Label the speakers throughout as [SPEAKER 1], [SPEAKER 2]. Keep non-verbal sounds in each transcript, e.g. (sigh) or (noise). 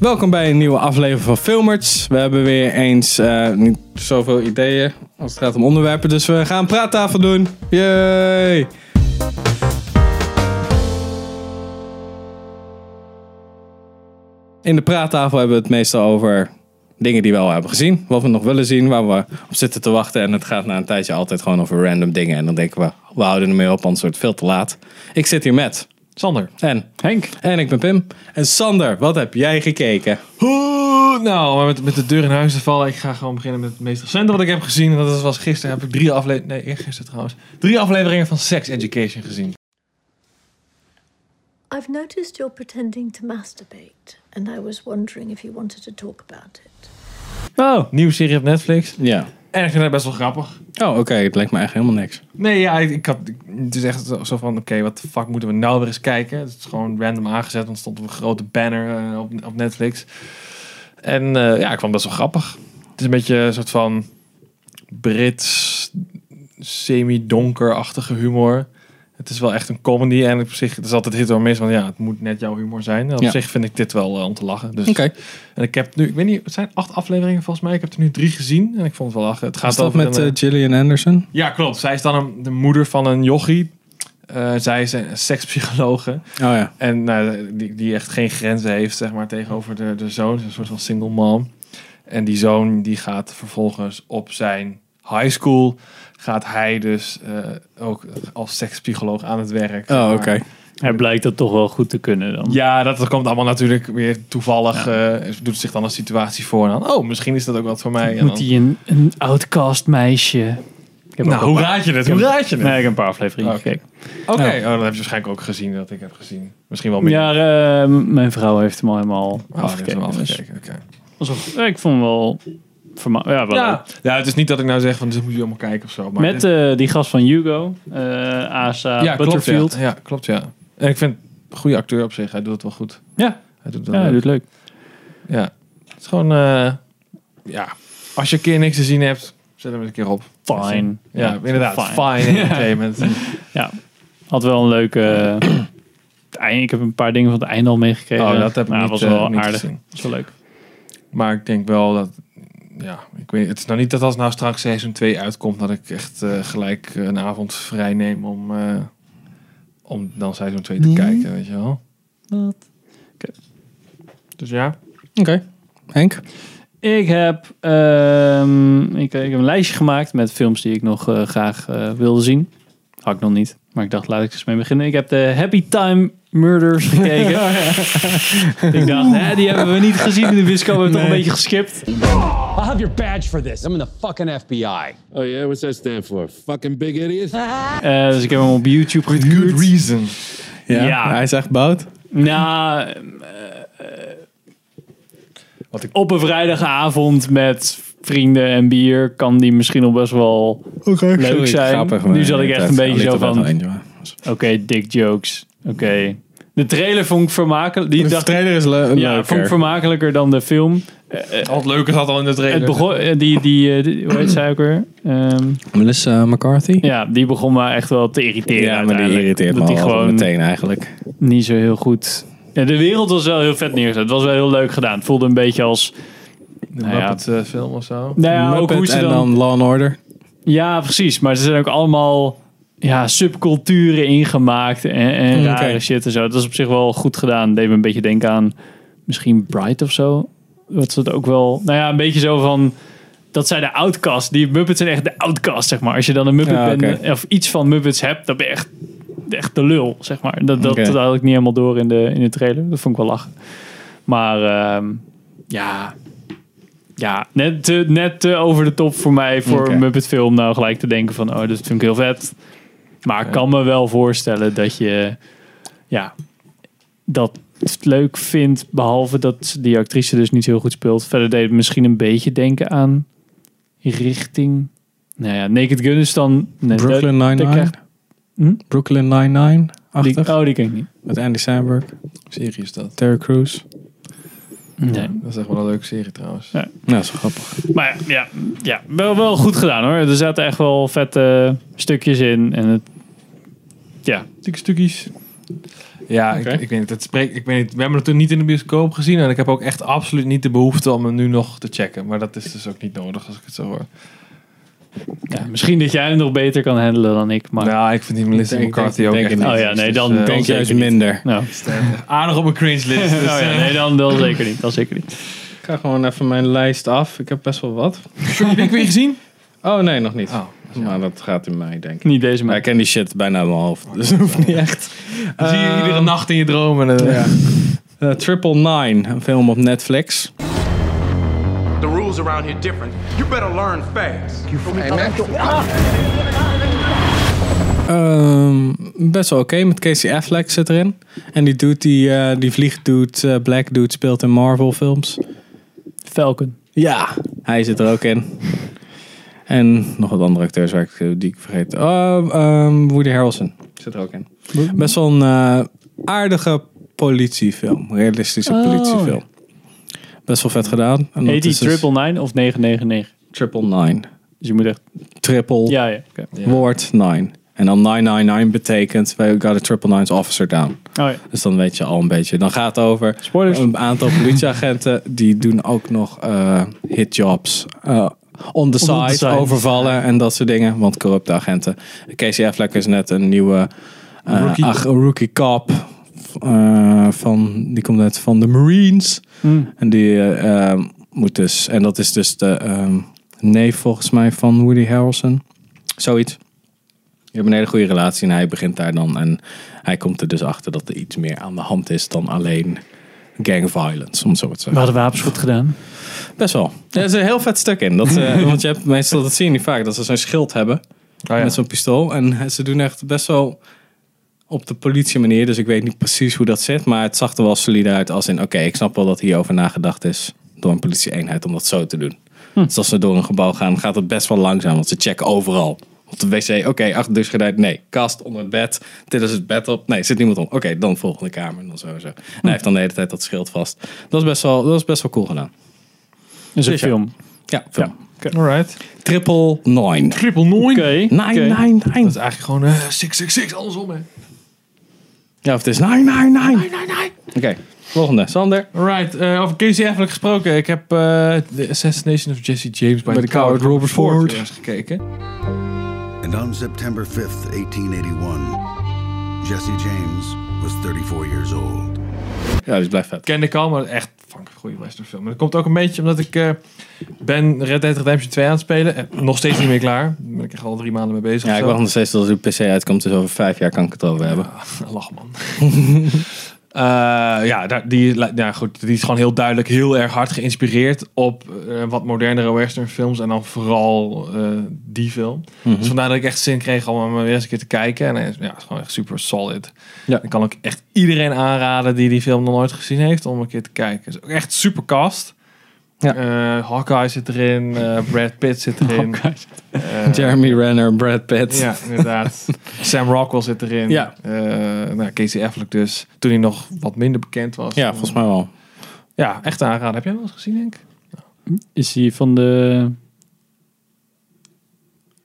[SPEAKER 1] Welkom bij een nieuwe aflevering van Filmers. We hebben weer eens eh, niet zoveel ideeën als het gaat om onderwerpen, dus we gaan een praattafel doen. Yay! In de praattafel hebben we het meestal over dingen die we al hebben gezien, wat we nog willen zien, waar we op zitten te wachten. En het gaat na een tijdje altijd gewoon over random dingen. En dan denken we, we houden ermee op, anders wordt het veel te laat. Ik zit hier met
[SPEAKER 2] Sander.
[SPEAKER 1] en
[SPEAKER 2] Henk.
[SPEAKER 1] en ik ben Pim. En Sander, wat heb jij gekeken?
[SPEAKER 2] Oeh, nou, om maar met, met de deur in huis te vallen. Ik ga gewoon beginnen met het meest recente wat ik heb gezien. En dat was gisteren. Heb ik drie afleveringen. Nee, eergisteren trouwens. Drie afleveringen van Sex Education gezien.
[SPEAKER 3] I've noticed you're pretending to masturbate, and I was wondering if you wanted to talk about it.
[SPEAKER 2] Oh. Nieuwe serie op Netflix.
[SPEAKER 1] Ja.
[SPEAKER 2] En ik vind het best wel grappig.
[SPEAKER 1] Oh, oké, het lijkt me echt helemaal niks.
[SPEAKER 2] Nee, ja, ik, ik had, ik- het is echt zo zo van, oké, wat de fuck moeten we nou weer eens kijken? Het is gewoon random aangezet, want er stond op een grote banner eh, op, op Netflix. En eh, ja, ik vond het best wel grappig. Het is een beetje een soort van Brits, semi-donkerachtige humor. Het is wel echt een comedy en op zich, het is altijd hit or miss, want ja, het moet net jouw humor zijn. En op
[SPEAKER 1] Ja.
[SPEAKER 2] zich vind ik dit wel eh, om te lachen. Dus,
[SPEAKER 1] Oké,
[SPEAKER 2] En ik heb nu, ik weet niet, het zijn acht afleveringen volgens mij. Ik heb er nu drie gezien en ik vond het wel lachen. Het gaat
[SPEAKER 1] gaat dat
[SPEAKER 2] over
[SPEAKER 1] met
[SPEAKER 2] een, eh,
[SPEAKER 1] eh, Gillian Anderson?
[SPEAKER 2] ja, klopt. Zij is dan een- de moeder van een jochie. Eh, zij is een sekspsychologe.
[SPEAKER 1] Oh ja.
[SPEAKER 2] En nou, die, die echt geen grenzen heeft, zeg maar, tegenover de, de zoon. Een soort van single mom. En die zoon, die gaat vervolgens op zijn high school... gaat hij dus eh, ook als sekspsycholoog aan het werk. zeg
[SPEAKER 1] Oh,
[SPEAKER 2] maar.
[SPEAKER 1] oké.
[SPEAKER 4] Hij blijkt dat toch wel goed te kunnen dan.
[SPEAKER 2] Ja, dat, dat komt allemaal natuurlijk weer toevallig. eh, doet zich dan een situatie voor. En dan, oh, misschien is dat ook wat voor mij. En
[SPEAKER 4] Moet
[SPEAKER 2] dan,
[SPEAKER 4] hij een, een outcast meisje... Ik heb ook
[SPEAKER 2] nou,
[SPEAKER 4] een
[SPEAKER 2] hoe
[SPEAKER 4] paar-
[SPEAKER 2] raad je het?
[SPEAKER 4] Ik
[SPEAKER 2] Hoe
[SPEAKER 4] heb-
[SPEAKER 2] raad je het?
[SPEAKER 4] Nee, ik heb een paar afleveringen
[SPEAKER 2] Oké.
[SPEAKER 4] gekeken.
[SPEAKER 2] Oké, oh, dat heb je waarschijnlijk ook gezien dat ik heb gezien. Misschien wel meer. Ah,
[SPEAKER 4] Ja, eh, m- mijn vrouw heeft hem al
[SPEAKER 2] Oh,
[SPEAKER 4] helemaal afgekeken. dus alsof- eh, ik vond hem wel... verma- Ja, wel leuk.
[SPEAKER 2] Ja. ja, het is niet dat ik nou zeg van dit moet je allemaal kijken of zo. Maar
[SPEAKER 4] Met eh, die gast van Hugo, eh Asa
[SPEAKER 2] ja, klopt, ja.
[SPEAKER 4] Butterfield.
[SPEAKER 2] ja, klopt ja. En ik vind een goede acteur op zich. Hij doet het wel goed.
[SPEAKER 4] Ja.
[SPEAKER 2] Hij doet het
[SPEAKER 4] ja,
[SPEAKER 2] wel
[SPEAKER 4] hij
[SPEAKER 2] leuk.
[SPEAKER 4] doet leuk.
[SPEAKER 2] Ja. Het is gewoon, eh, ja, als je een keer niks te zien hebt, zet hem eens een keer op.
[SPEAKER 4] Fine.
[SPEAKER 2] Ja, inderdaad.
[SPEAKER 4] fine.
[SPEAKER 2] Fine,
[SPEAKER 4] (laughs)
[SPEAKER 2] entertainment.
[SPEAKER 4] Had wel een leuke... (clears throat) eh, het einde- ik heb een paar dingen van het einde al meegekregen.
[SPEAKER 2] Oh, dat heb ik
[SPEAKER 4] Maar
[SPEAKER 2] niet,
[SPEAKER 4] Nou, was
[SPEAKER 2] eh,
[SPEAKER 4] wel
[SPEAKER 2] niet
[SPEAKER 4] aardig.
[SPEAKER 2] gezien.
[SPEAKER 4] was wel leuk.
[SPEAKER 2] Maar ik denk wel dat, ja, ik weet, het is nou niet dat als nou straks seizoen 2 uitkomt, dat ik echt eh, gelijk een avond vrij neem om, eh, om dan seizoen 2 te
[SPEAKER 4] Nee.
[SPEAKER 2] kijken, weet je wel.
[SPEAKER 4] Wat?
[SPEAKER 2] Dus ja.
[SPEAKER 1] Oké. Henk?
[SPEAKER 4] Ik heb, ehm, ik, ik heb een lijstje gemaakt met films die ik nog eh, graag eh, wilde zien. Had ik nog niet, maar ik dacht laat ik eens mee beginnen. Ik heb de Happy Time Murders gekeken. ik dacht, hè, die hebben we niet gezien in de Wisco. We hebben toch een beetje geskipt.
[SPEAKER 5] I'll have your badge for this. I'm in the fucking FBI.
[SPEAKER 6] Oh yeah, what's that stand for? Fucking big
[SPEAKER 5] (laughs)
[SPEAKER 6] idiot.
[SPEAKER 4] Eh, dus ik heb hem op YouTube gehuurd.
[SPEAKER 2] reason.
[SPEAKER 1] Ja.
[SPEAKER 4] Ja.
[SPEAKER 1] Hij is echt bout.
[SPEAKER 4] Nou,
[SPEAKER 2] Wat ik-
[SPEAKER 4] eh, op een vrijdagavond met vrienden en bier kan die misschien nog best wel
[SPEAKER 1] Oké.
[SPEAKER 4] Leuk zijn. Nu zat ik echt een beetje zo van- Oké, dick jokes. Oké. De trailer vond ik vermakelijk. Die
[SPEAKER 1] De
[SPEAKER 4] dacht,
[SPEAKER 1] trailer is le
[SPEAKER 4] ja, vond ik
[SPEAKER 1] leuker.
[SPEAKER 4] vermakelijker dan de film.
[SPEAKER 2] Wat leuker zat al in de trailer.
[SPEAKER 4] Het begon, eh, die, die, eh, die- hoe heet zij ook weer? Ehm,
[SPEAKER 1] Melissa McCarthy?
[SPEAKER 4] ja, die begon me echt wel te irriteren.
[SPEAKER 1] Ja, maar die
[SPEAKER 4] uiteindelijk.
[SPEAKER 1] irriteert me
[SPEAKER 4] Dat
[SPEAKER 1] al
[SPEAKER 4] die gewoon
[SPEAKER 1] meteen eigenlijk.
[SPEAKER 4] niet zo heel goed. Ja, de wereld was wel heel vet neergezet. Het was wel heel leuk gedaan. Het voelde een beetje als.
[SPEAKER 2] De
[SPEAKER 4] Nou ja.
[SPEAKER 2] Muppet, eh, film of zo.
[SPEAKER 4] Nou ja, ook
[SPEAKER 1] Muppet
[SPEAKER 4] hoe ze
[SPEAKER 1] en
[SPEAKER 4] dan,
[SPEAKER 1] dan... Law and Order.
[SPEAKER 4] Ja, precies. Maar ze zijn ook allemaal ja, subculturen ingemaakt en, en
[SPEAKER 1] Mm,
[SPEAKER 4] rare
[SPEAKER 1] oké.
[SPEAKER 4] shit en zo. Dat is op zich wel goed gedaan. Deed me een beetje denken aan misschien Bright of zo. Wat ze het ook wel... Nou ja, een beetje zo van... Dat zijn de outcasts. Die Muppets zijn echt de outcasts, zeg maar. Als je dan een Muppet
[SPEAKER 1] Ja,
[SPEAKER 4] bent, of iets van Muppets hebt, dan ben je echt, echt de lul, zeg maar. Dat, dat,
[SPEAKER 1] Oké.
[SPEAKER 4] dat had ik niet helemaal door in de, in de trailer. Dat vond ik wel lachen. Maar ehm, ja... Ja, net te, net te over de top voor mij voor
[SPEAKER 1] Oké.
[SPEAKER 4] een Muppet film. Nou gelijk te denken van, oh, dat vind ik heel vet. Maar ik
[SPEAKER 2] Ja.
[SPEAKER 4] kan me wel voorstellen dat je ja, dat leuk vindt. Behalve dat die actrice dus niet heel goed speelt. Verder deed het misschien een beetje denken aan richting... Nou ja, Naked Gun is dan... nee, dat-
[SPEAKER 1] Brooklyn
[SPEAKER 4] dat
[SPEAKER 1] Nine-Nine.
[SPEAKER 4] krijgt- Hm?
[SPEAKER 1] Brooklyn Nine-Nine-achtig.
[SPEAKER 4] die, oh, die ken ik niet.
[SPEAKER 1] Met Andy Samberg,
[SPEAKER 2] Serie is dat.
[SPEAKER 1] Terry Crews.
[SPEAKER 4] Nee.
[SPEAKER 2] Dat is echt wel een leuke serie trouwens.
[SPEAKER 4] Ja.
[SPEAKER 1] Nou, dat is wel grappig.
[SPEAKER 4] Maar ja, ja, ja wel, wel goed gedaan hoor. Er zaten echt wel vette stukjes in. En het, ja,
[SPEAKER 2] Stukjes, stukjes. Ja,
[SPEAKER 1] Oké.
[SPEAKER 2] ik, ik, weet niet, het spreekt, ik weet niet. We hebben het toen niet in de bioscoop gezien. En ik heb ook echt absoluut niet de behoefte om hem nu nog te checken. Maar dat is dus ook niet nodig als ik het zo hoor.
[SPEAKER 4] Ja, misschien dat jij hem nog beter kan handelen dan ik. Maar,
[SPEAKER 2] nou, ik vind die Melissa
[SPEAKER 1] denk-
[SPEAKER 2] McCarthy
[SPEAKER 1] denk-
[SPEAKER 2] ook
[SPEAKER 1] denk
[SPEAKER 2] echt Dus
[SPEAKER 1] het
[SPEAKER 4] oh
[SPEAKER 1] niet.
[SPEAKER 4] ja, nee,
[SPEAKER 2] eh,
[SPEAKER 4] dan,
[SPEAKER 1] Ik
[SPEAKER 4] dan
[SPEAKER 1] denk
[SPEAKER 4] zeker
[SPEAKER 1] juist
[SPEAKER 4] niet.
[SPEAKER 1] minder.
[SPEAKER 4] Nou.
[SPEAKER 2] aardig op mijn cringe (laughs) list. Dus,
[SPEAKER 4] Oh (laughs) ja,
[SPEAKER 2] eh,
[SPEAKER 4] nee, dan, dan zeker niet. Dan zeker niet.
[SPEAKER 1] Ik ga gewoon even mijn lijst af. Ik heb best wel wat.
[SPEAKER 2] Heb je die weer gezien?
[SPEAKER 1] Oh nee, nog niet.
[SPEAKER 2] Oh,
[SPEAKER 1] Maar dat gaat in mei, denk ik.
[SPEAKER 4] Niet deze
[SPEAKER 1] Maar ik
[SPEAKER 4] maar.
[SPEAKER 1] ken die shit bijna in mijn hoofd. (laughs) Dus dat hoeft niet echt. Ehm,
[SPEAKER 2] dan zie je iedere nacht in je dromen. eh,
[SPEAKER 1] Eh, Triple Nine, een film op Netflix.
[SPEAKER 7] The rules around here different. You better learn fast.
[SPEAKER 1] Ehm, best wel oké, met Casey Affleck zit erin. En die dude, die, eh die vliegdude, eh, black dude, speelt in Marvel films.
[SPEAKER 4] Falcon.
[SPEAKER 1] Ja, hij zit er ook in. En nog wat andere acteurs waar ik, eh, die ik vergeet. Oh, ehm, Woody Harrelson zit er ook in. Best wel een eh, aardige politiefilm. Realistische
[SPEAKER 4] Oh.
[SPEAKER 1] politiefilm. Best wel vet gedaan. En dat
[SPEAKER 4] 80
[SPEAKER 1] is dus
[SPEAKER 4] triple nine of 999.
[SPEAKER 1] triple nine.
[SPEAKER 4] Dus je moet echt...
[SPEAKER 1] Triple
[SPEAKER 4] Ja, ja. oké.
[SPEAKER 1] woord nine. En dan 999 betekent... We got a triple nine's officer down.
[SPEAKER 4] Oh ja.
[SPEAKER 1] Dus dan weet je al een beetje. Dan gaat het over
[SPEAKER 4] Spoilers.
[SPEAKER 1] een aantal politieagenten. Die doen ook nog eh, hitjobs. eh, on the side,
[SPEAKER 4] side.
[SPEAKER 1] overvallen en dat soort dingen. Want corrupte agenten. Casey Affleck is net een nieuwe eh, ach-
[SPEAKER 2] Rookie.
[SPEAKER 1] rookie, cop. eh, van, die komt uit van de Marines. En die eh, eh, moet dus... En dat is dus de ehm neef volgens mij van Woody Harrelson. Zoiets. Je hebt een hele goede relatie en hij begint daar dan. En hij komt er dus achter dat er iets meer aan de hand is dan alleen gang violence, om het zo maar te
[SPEAKER 4] We
[SPEAKER 1] zeggen.
[SPEAKER 4] hadden wapenschoot gedaan.
[SPEAKER 1] Best wel. Er is een heel vet stuk in. Dat, eh, want je hebt meestal, dat zie je niet vaak, dat ze zo'n schild hebben
[SPEAKER 2] oh ja.
[SPEAKER 1] met zo'n pistool. En ze doen echt best wel op de politie manier. Dus ik weet niet precies hoe dat zit. Maar het zag er wel solide uit als in... Oké, ik snap wel dat hierover nagedacht is door een politieeenheid om dat zo te doen. Dus als ze door een gebouw gaan, gaat het best wel langzaam. Want ze checken overal. Op de wc, oké, achter de gordijn, nee. Kast, onder het bed, dit is het bed op. Nee, zit niemand om. Oké, dan volgende kamer en dan zo en zo. En hij heeft dan de hele tijd dat schild vast. Dat is best wel, dat is best wel cool gedaan.
[SPEAKER 4] Dus een
[SPEAKER 1] Dus ja.
[SPEAKER 4] film.
[SPEAKER 1] Ja, film.
[SPEAKER 2] Alright.
[SPEAKER 1] Triple nine.
[SPEAKER 2] Triple nine.
[SPEAKER 4] Oké.
[SPEAKER 1] Nine,
[SPEAKER 4] oké.
[SPEAKER 1] nine, nine.
[SPEAKER 2] Dat is eigenlijk gewoon eh, 666 andersom, hè.
[SPEAKER 1] Ja, of het is nine, nine, nine. Oké, volgende. Sander.
[SPEAKER 2] Alright, eh, over Casey Affleck gesproken. Ik heb eh The Assassination of Jesse James bij, de Coward Robert Ford weer eens gekeken.
[SPEAKER 8] And on September 5th, 1881, Jesse James was 34 years old.
[SPEAKER 1] Ja, die blijft vet.
[SPEAKER 2] Kende ik al, maar echt fucking goede westernfilm. En dat komt ook een beetje omdat ik eh, ben Red Dead Redemption 2 aan het spelen. Eh, nog steeds niet meer klaar. Daar ben ik echt al drie maanden mee bezig.
[SPEAKER 1] Ja,
[SPEAKER 2] of
[SPEAKER 1] ik
[SPEAKER 2] zo.
[SPEAKER 1] wacht nog steeds tot de PC uitkomt, dus over vijf jaar kan ik het over hebben.
[SPEAKER 2] (laughs) Lach man. Eh, ja, daar- die, li- ja, goed, die is gewoon heel duidelijk heel erg hard geïnspireerd op eh, wat modernere westernfilms. En dan vooral eh, die film.
[SPEAKER 1] Mhm.
[SPEAKER 2] Dus vandaar dat ik echt zin kreeg om hem weer eens een keer te kijken. En hij is, ja, het is gewoon echt super solid.
[SPEAKER 1] Ja.
[SPEAKER 2] Ik kan ook echt iedereen aanraden die die film nog nooit gezien heeft om een keer te kijken. Het is ook echt super cast.
[SPEAKER 1] Ja.
[SPEAKER 2] Eh, Hawkeye zit erin, eh, Brad Pitt zit
[SPEAKER 1] (laughs)
[SPEAKER 2] erin. Eh,
[SPEAKER 1] Jeremy Renner, Brad Pitt.
[SPEAKER 2] ja, inderdaad. (laughs) Sam Rockwell zit erin.
[SPEAKER 1] Ja.
[SPEAKER 2] Eh, nou, Casey Affleck dus. Toen hij nog wat minder bekend was.
[SPEAKER 1] Ja, volgens mij wel.
[SPEAKER 2] Ja, echt aanraden. Heb jij hem wel eens gezien, denk ik?
[SPEAKER 4] Is die van de...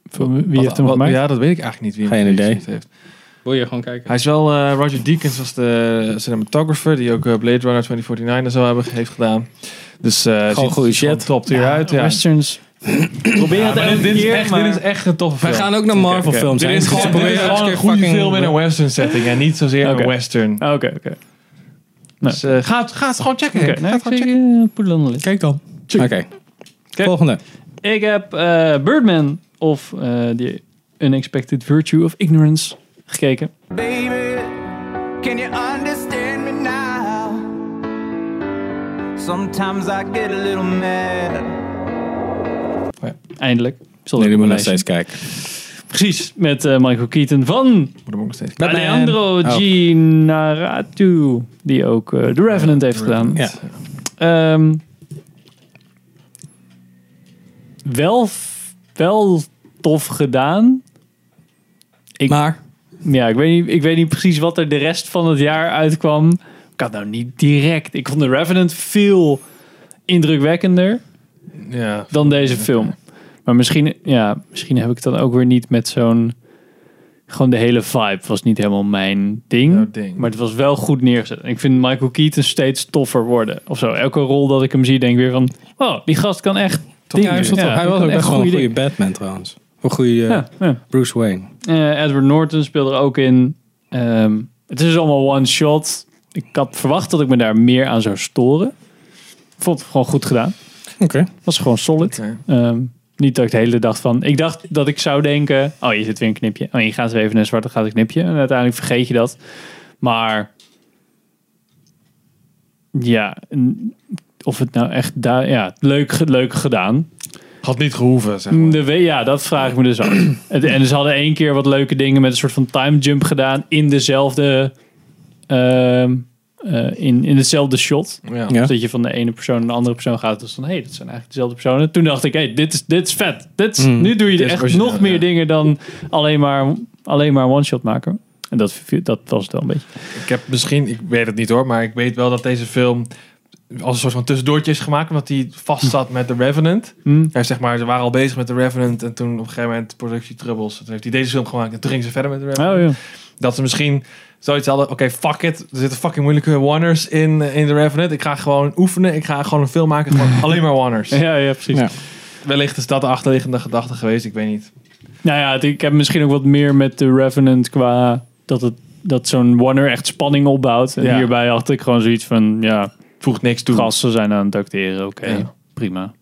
[SPEAKER 4] Van wie heeft hem gemaakt?
[SPEAKER 2] Ja, dat weet ik eigenlijk niet wie hem
[SPEAKER 1] Geen idee.
[SPEAKER 2] geregisseerd heeft.
[SPEAKER 1] Wil je gewoon kijken?
[SPEAKER 2] Hij is wel... eh, Roger Deakins was de cinematographer die ook eh, Blade Runner 2049 en zo hebben, heeft gedaan. Dus eh, ziet er
[SPEAKER 1] goede shit.
[SPEAKER 2] gewoon top tier uit. Ja.
[SPEAKER 4] Westerns. Probeer het
[SPEAKER 2] Ja, maar
[SPEAKER 4] elke
[SPEAKER 2] dit, dit, is
[SPEAKER 4] keer,
[SPEAKER 2] echt,
[SPEAKER 4] maar-
[SPEAKER 2] dit is echt een toffe
[SPEAKER 1] Wij
[SPEAKER 2] film.
[SPEAKER 1] gaan ook naar Marvel films.
[SPEAKER 2] Dit
[SPEAKER 1] hè?
[SPEAKER 2] is
[SPEAKER 1] Dus
[SPEAKER 2] gewoon,
[SPEAKER 1] probeer
[SPEAKER 2] dit is
[SPEAKER 1] eens
[SPEAKER 2] gewoon een
[SPEAKER 1] keer
[SPEAKER 2] goede
[SPEAKER 1] fucking-
[SPEAKER 2] film in een western setting. En niet zozeer
[SPEAKER 4] Oké.
[SPEAKER 2] een western.
[SPEAKER 4] Oké, Ah, oké.
[SPEAKER 2] Dus eh, ga, het- ga het gewoon checken.
[SPEAKER 4] Oké,
[SPEAKER 2] Henk. Ga
[SPEAKER 4] nou,
[SPEAKER 2] het
[SPEAKER 4] ik
[SPEAKER 2] gewoon
[SPEAKER 4] zeg,
[SPEAKER 2] checken.
[SPEAKER 4] eh, poedel aan de list.
[SPEAKER 1] Kijk dan. Oké. Volgende.
[SPEAKER 4] Ik heb eh, Birdman of eh The Unexpected Virtue of Ignorance gekeken.
[SPEAKER 7] Baby, can you understand me now? Sometimes I get a little mad.
[SPEAKER 4] Oh Eindelijk. Ik Zal
[SPEAKER 1] Jullie
[SPEAKER 4] even
[SPEAKER 1] moeten nog
[SPEAKER 4] lijstje.
[SPEAKER 1] steeds kijken.
[SPEAKER 4] Precies, met eh, Michael Keaton van
[SPEAKER 2] Moet hem ook nog steeds
[SPEAKER 1] Batman.
[SPEAKER 4] Alejandro
[SPEAKER 1] Oh.
[SPEAKER 4] Ginaratu. Die ook eh, The Revenant heeft gedaan.
[SPEAKER 1] Ja.
[SPEAKER 4] Ehm, wel, f- wel tof gedaan. Ik-
[SPEAKER 1] Maar,
[SPEAKER 4] Ja, ik weet, niet, ik weet niet precies wat er de rest van het jaar uitkwam. Ik had nou niet direct. Ik vond The Revenant veel indrukwekkender
[SPEAKER 2] Ja.
[SPEAKER 4] dan deze film. Maar misschien, ja, misschien heb ik het dan ook weer niet met zo'n Gewoon de hele vibe was niet helemaal mijn ding,
[SPEAKER 2] Jouw ding.
[SPEAKER 4] Maar het was wel goed neergezet. En ik vind Michael Keaton steeds toffer worden. Of zo. Elke rol dat ik hem zie, denk ik weer van... Oh, die gast kan echt dingen.
[SPEAKER 1] Ja, hij was,
[SPEAKER 4] Ja,
[SPEAKER 1] toch- hij
[SPEAKER 4] die
[SPEAKER 1] was
[SPEAKER 4] kan
[SPEAKER 1] ook
[SPEAKER 4] echt
[SPEAKER 1] echt gewoon een
[SPEAKER 4] goede
[SPEAKER 1] goede
[SPEAKER 4] dingen.
[SPEAKER 1] Batman trouwens. Een goede eh,
[SPEAKER 4] Ja, ja.
[SPEAKER 1] Bruce Wayne.
[SPEAKER 4] Eh, Edward Norton speelde er ook in. Ehm, het is allemaal one shot. Ik had verwacht dat ik me daar meer aan zou storen. Ik vond het gewoon goed gedaan.
[SPEAKER 1] Oké.
[SPEAKER 4] was gewoon solid.
[SPEAKER 2] Oké.
[SPEAKER 4] Ehm, niet dat ik de hele dag van... Ik dacht dat ik zou denken... Oh, hier zit weer een knipje. Oh, hier gaat weer even een zwarte gaat een knipje. En uiteindelijk vergeet je dat. Maar... Ja, n- of het nou echt... da- ja, leuk, ge- leuk gedaan.
[SPEAKER 2] Had niet gehoeven, zeg maar.
[SPEAKER 4] Mm, De we- ja, dat vraag ik me dus af.
[SPEAKER 2] (clears throat)
[SPEAKER 4] Het- en ze hadden één keer wat leuke dingen met een soort van time jump gedaan in dezelfde ehm, eh, in, in hetzelfde shot.
[SPEAKER 2] Ja.
[SPEAKER 1] Ja.
[SPEAKER 4] Dus dat je van de ene persoon naar de andere persoon gaat. Dus dan, hé, hey, dat zijn eigenlijk dezelfde personen. Toen dacht ik, hé, hey, dit, is, dit is vet. Dit is, nu doe je
[SPEAKER 2] Mm. dit is
[SPEAKER 4] echt
[SPEAKER 2] origineel,
[SPEAKER 4] nog meer
[SPEAKER 2] ja.
[SPEAKER 4] dingen dan alleen maar, alleen maar one-shot maken. En dat, viel- dat was het wel een beetje.
[SPEAKER 2] Ik heb misschien, ik weet het niet hoor, maar ik weet wel dat deze film als een soort van tussendoortje is gemaakt, omdat hij
[SPEAKER 4] Mm.
[SPEAKER 2] vast zat met The Revenant. Ja, zeg maar, ze waren al bezig met The Revenant en toen op een gegeven moment productie troubles. Toen heeft hij deze film gemaakt en toen gingen ze verder met The Revenant.
[SPEAKER 4] Oh, ja.
[SPEAKER 2] Dat ze misschien zoiets hadden, oké, fuck it, er zitten fucking moeilijke Warners in, eh, in The Revenant. Ik ga gewoon oefenen, ik ga gewoon een film maken,
[SPEAKER 4] (laughs)
[SPEAKER 2] gewoon alleen maar Warners.
[SPEAKER 4] Ja, ja, precies.
[SPEAKER 1] Ja.
[SPEAKER 2] Wellicht is dat de achterliggende gedachte geweest, ik weet niet.
[SPEAKER 4] Nou ja, het- ik heb misschien ook wat meer met The Revenant qua dat, het, dat zo'n Warner echt spanning opbouwt. En
[SPEAKER 2] Ja.
[SPEAKER 4] hierbij had ik gewoon zoiets van, ja,
[SPEAKER 2] Voegt niks toe.
[SPEAKER 4] gasten zijn aan het acteren, oké,
[SPEAKER 2] Ja.
[SPEAKER 4] prima.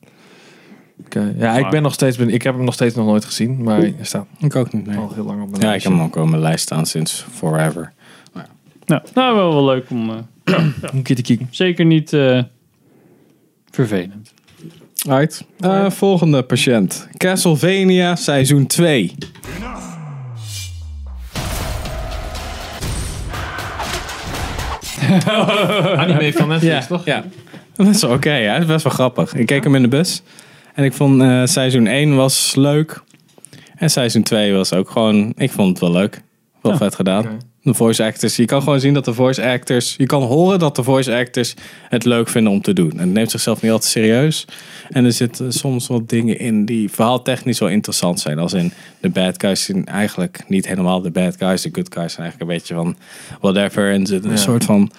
[SPEAKER 2] Oké, Ja, ik ben nog steeds, ben- ik heb hem nog steeds nog nooit gezien, maar hij staat
[SPEAKER 1] Ik ook niet, nee.
[SPEAKER 2] al heel lang op mijn
[SPEAKER 1] Ja, ik
[SPEAKER 2] lijstje.
[SPEAKER 1] heb hem ook op mijn lijst staan sinds forever.
[SPEAKER 4] Nou, nou wel, wel leuk om, eh,
[SPEAKER 2] Een keer te kijken.
[SPEAKER 4] zeker niet eh, vervelend.
[SPEAKER 1] Right. Eh, volgende patiënt. Castlevania seizoen 2.
[SPEAKER 2] Anime van Netflix, toch?
[SPEAKER 1] Ja. Dat is wel oké, ja. Dat is best wel grappig. Ik keek hem in de bus. En ik vond eh, seizoen 1 was leuk. En seizoen 2 was ook gewoon... Ik vond het wel leuk. Wel vet gedaan.
[SPEAKER 2] Oké.
[SPEAKER 1] De voice actors. Je kan gewoon zien dat de voice actors... Je kan horen dat de voice actors het leuk vinden om te doen. En het neemt zichzelf niet altijd serieus. En er zitten soms wat dingen in die verhaaltechnisch wel interessant zijn. Als in de bad guys zijn eigenlijk niet helemaal de bad guys. De good guys zijn eigenlijk een beetje van whatever. En er zit een soort van...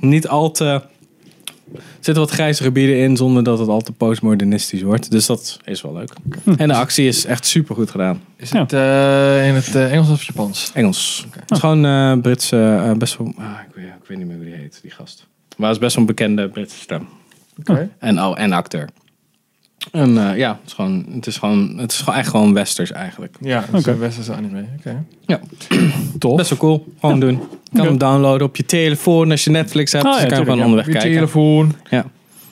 [SPEAKER 1] niet al te... Er zitten wat grijze gebieden in zonder dat het al te postmodernistisch wordt. Dus dat is wel leuk. En de actie is echt super goed gedaan.
[SPEAKER 2] Is het eh, in het eh, Engels of Japans?
[SPEAKER 1] Engels. Het is gewoon eh Britse, eh, best wel... ah, ik, weet, ik weet niet meer hoe die heet, die gast. Maar het is best wel een bekende Britse stem.
[SPEAKER 2] Oké.
[SPEAKER 1] En, oh, en acteur. En eh, ja, het is, gewoon, het, is gewoon, het is gewoon echt gewoon westers eigenlijk.
[SPEAKER 2] Ja, dat is een westerse anime.
[SPEAKER 1] (clears throat)
[SPEAKER 2] Oké.
[SPEAKER 1] Ja. Tof. Best wel cool. Gewoon doen. Je kan hem downloaden op je telefoon als je Netflix hebt.
[SPEAKER 4] Ah,
[SPEAKER 1] dus
[SPEAKER 4] ja,
[SPEAKER 1] je kan je gewoon
[SPEAKER 4] tuurlijk,
[SPEAKER 1] onderweg
[SPEAKER 2] Je
[SPEAKER 1] kijken.
[SPEAKER 2] telefoon.
[SPEAKER 1] Ja.